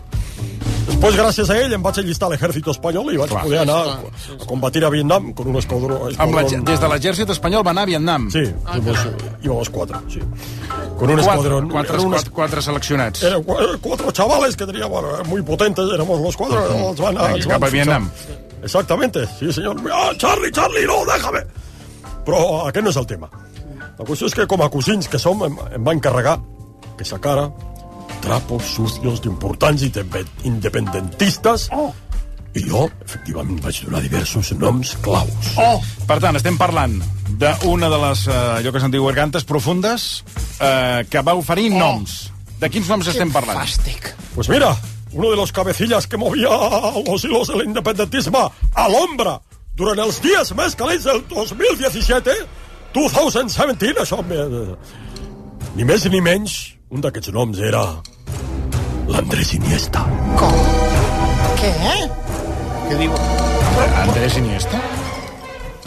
S9: Después, gracias a él, en Bache está el ejército español y Bache
S6: Claro.
S9: podía anar a, a combatir a Vietnam con un escuadrón.
S6: Amb la, des de l'exèrcit espanyol va anar a Vietnam.
S9: Sí,
S5: Ah,
S9: íbamos, íbamos cuatro, sí. Con un
S6: Quatre-
S9: escuadrón.
S6: quatre-
S9: un
S6: quatre- quatre seleccionats.
S9: Eran cu- eh, cuatro chavales que teníamos bueno, muy potentes, éramos los cuatro.
S6: Ujú.
S9: nos van a-
S6: Venga,
S9: nos van
S6: cap a
S9: fichar.
S6: Vietnam.
S9: Exactamente, sí, señor. Ah, Charlie, Charlie, no, déjame. Però aquest no és el tema. La qüestió és que com a cosins que som em, em va encarregar que sacara trapos sucios d'importants i de- independentistes i jo, efectivament, vaig donar diversos noms claus.
S6: Oh! Per tant, estem parlant d'una de les, eh, allò que se'n diu gargantes profundes, eh, que va oferir
S5: Oh.
S6: noms. De quins noms estem parlant?
S14: Fàstic.
S9: Pues mira, uno de los cabecillas que movia los hilos del independentisme a l'ombra durant els dies més calents del 2017, 2017, això... eh, Ni més ni menys, un d'aquests noms era l'Andrés Iniesta.
S14: Què?
S26: Què diu?
S6: Andrés Iniesta?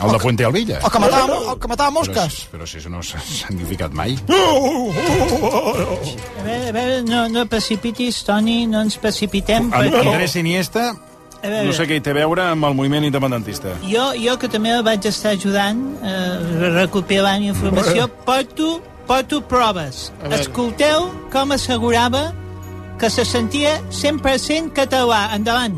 S6: El de Puente Alvilla?
S14: O Oh, que matava, o que matava mosques.
S6: Però, però si això no s'ha s'ha significat mai.
S5: A veure, a veure, no, no precipitis, Toni, no ens precipitem.
S6: Amb
S5: perquè-
S6: Andrés Iniesta,
S5: A veure.
S6: no sé què hi té a veure amb el moviment independentista.
S5: Jo, jo que també el vaig estar ajudant, eh, recopilant informació, porto, porto proves.
S26: A veure.
S5: Escolteu com assegurava que se sentia 100% català. Endavant.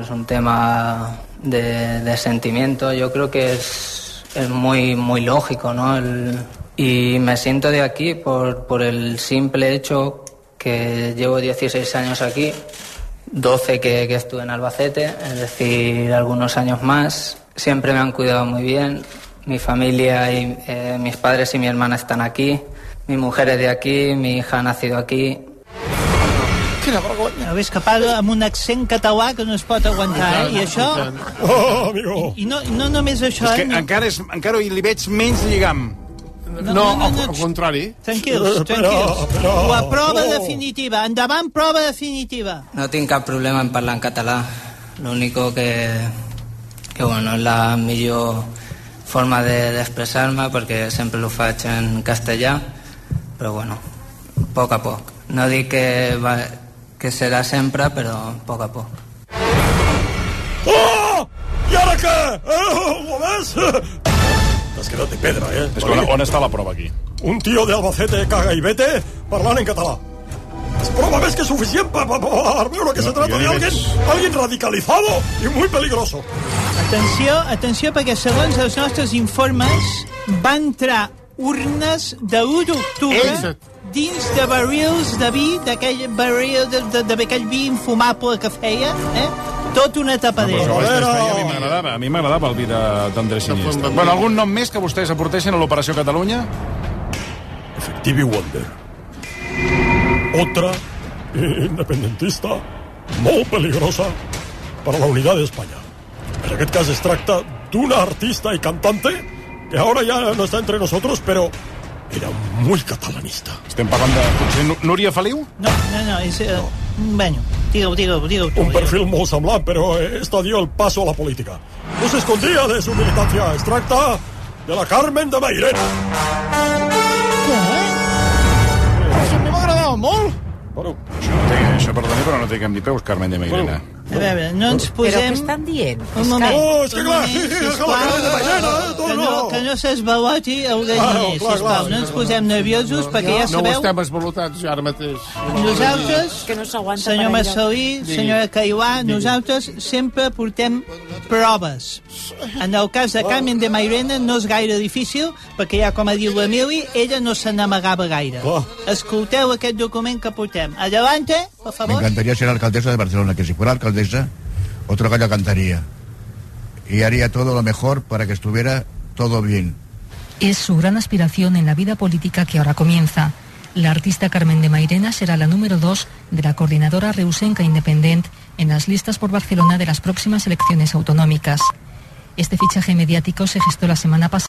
S38: Es un tema de, de sentimiento, yo creo que es, es muy, muy lógico, ¿no? El- y me siento de aquí por, por el simple hecho que llevo 16 años aquí, 12 que, que estuve en Albacete, es decir, algunos años más. Siempre me han cuidado muy bien, mi familia y eh, mis padres y mi hermana están aquí, mi mujer es de aquí, mi hija ha nacido aquí,
S5: Quina vergonya. Ves que parla amb un accent català que no es pot aguantar, eh? I això...
S9: Oh, amigo!
S5: I, i no, i no només això,
S6: És que
S5: eh?
S6: encara, és, encara hi li veig menys lligam.
S5: No, no, no, no, al
S26: contrari.
S5: Tranquils, tranquils. La prova definitiva. Endavant, prova definitiva.
S38: No tinc cap problema en parlar en català. L'únic que, que bueno, és la millor forma de- d'expressar-me de, perquè sempre ho faig en castellà, però bueno, a poc a poc. No dic que, va, que serà sempre, però a poc a poc.
S9: Oh! I ara què? Eh, ho ves? T'has quedat de pedra, eh?
S6: És que on, on està la prova aquí?
S9: Un tío de Albacete caga i vete parlant en català. Es prova més que suficient per, per, per veure que se trata de alguien, alguien radicalizado y muy peligroso.
S5: Atenció, atenció, perquè segons els nostres informes va entrar urnes de 1 d'octubre
S26: Ells-
S5: dins de barrils de vi, d'aquell barril de, de, de, d'aquell vi infumable que feia, eh? tot una tapadera.
S6: Però és que a mi m'agradava, a mi m'agradava el vi de- d'Andrés Iniesta. Bueno, algun nom més que vostès aportessin a l'Operació Catalunya?
S9: Efectivi Wonder. Otra eh, independentista molt peligrosa per a la unitat d'Espanya. En aquest cas es tracta d'una artista i cantante que ahora ya no está entre nosotros, pero era muy catalanista.
S6: Estem parlant de... Potser Nú- Núria Feliu?
S5: No, no, no, es... eh, Bueno, digo, digo, digo.
S9: Un perfil muy semblant, pero esta dio el paso a la política. No se escondía de su militancia extracta de la Carmen de Mairena.
S12: ¡Oh,
S26: Això a mi m'agradava molt.
S9: Bueno,
S6: això, no té, això perdoni, però no té cap ni peus, Carmen de Mairena.
S5: A veure, no ens posem...
S38: Però què estan dient?
S5: Un
S38: És
S5: moment.
S38: que-
S9: Oh, és que
S5: un
S9: clar,
S5: moment,
S9: sí, sí,
S5: sisplau.
S9: acaba de quedar ballena, eh?
S5: Que no, que no s'esbaloti el de
S3: Ah, no, clar,
S5: llenyer,
S3: clar,
S5: sisplau. No ens posem nerviosos, perquè
S3: No
S5: ja
S3: ho
S5: sabeu...
S3: estem esvalotats ara mateix.
S5: Nosaltres,
S38: Que no s'aguanta per
S5: senyor
S38: enlloc.
S5: Massalí,
S3: Digui.
S5: senyora Caiguà, nosaltres sempre portem proves. En el cas de Carmen de Mairena no és gaire difícil, perquè ja, com ha dit l'Emili, ella no se n'amagava gaire.
S3: Oh.
S5: Escolteu aquest document que portem. Adelante, per
S14: Me
S5: favor.
S14: encantaría ser alcaldesa de Barcelona, que si fuera alcaldesa, otro gallo cantaría. Y haría todo lo mejor para que estuviera todo bien.
S2: Es su gran aspiración en la vida política que ahora comienza. La artista Carmen de Mairena será la número dos de la coordinadora Reusenca Independent en las listas por Barcelona de las próximas elecciones autonómicas. Este fichaje mediático se gestó la semana pasada.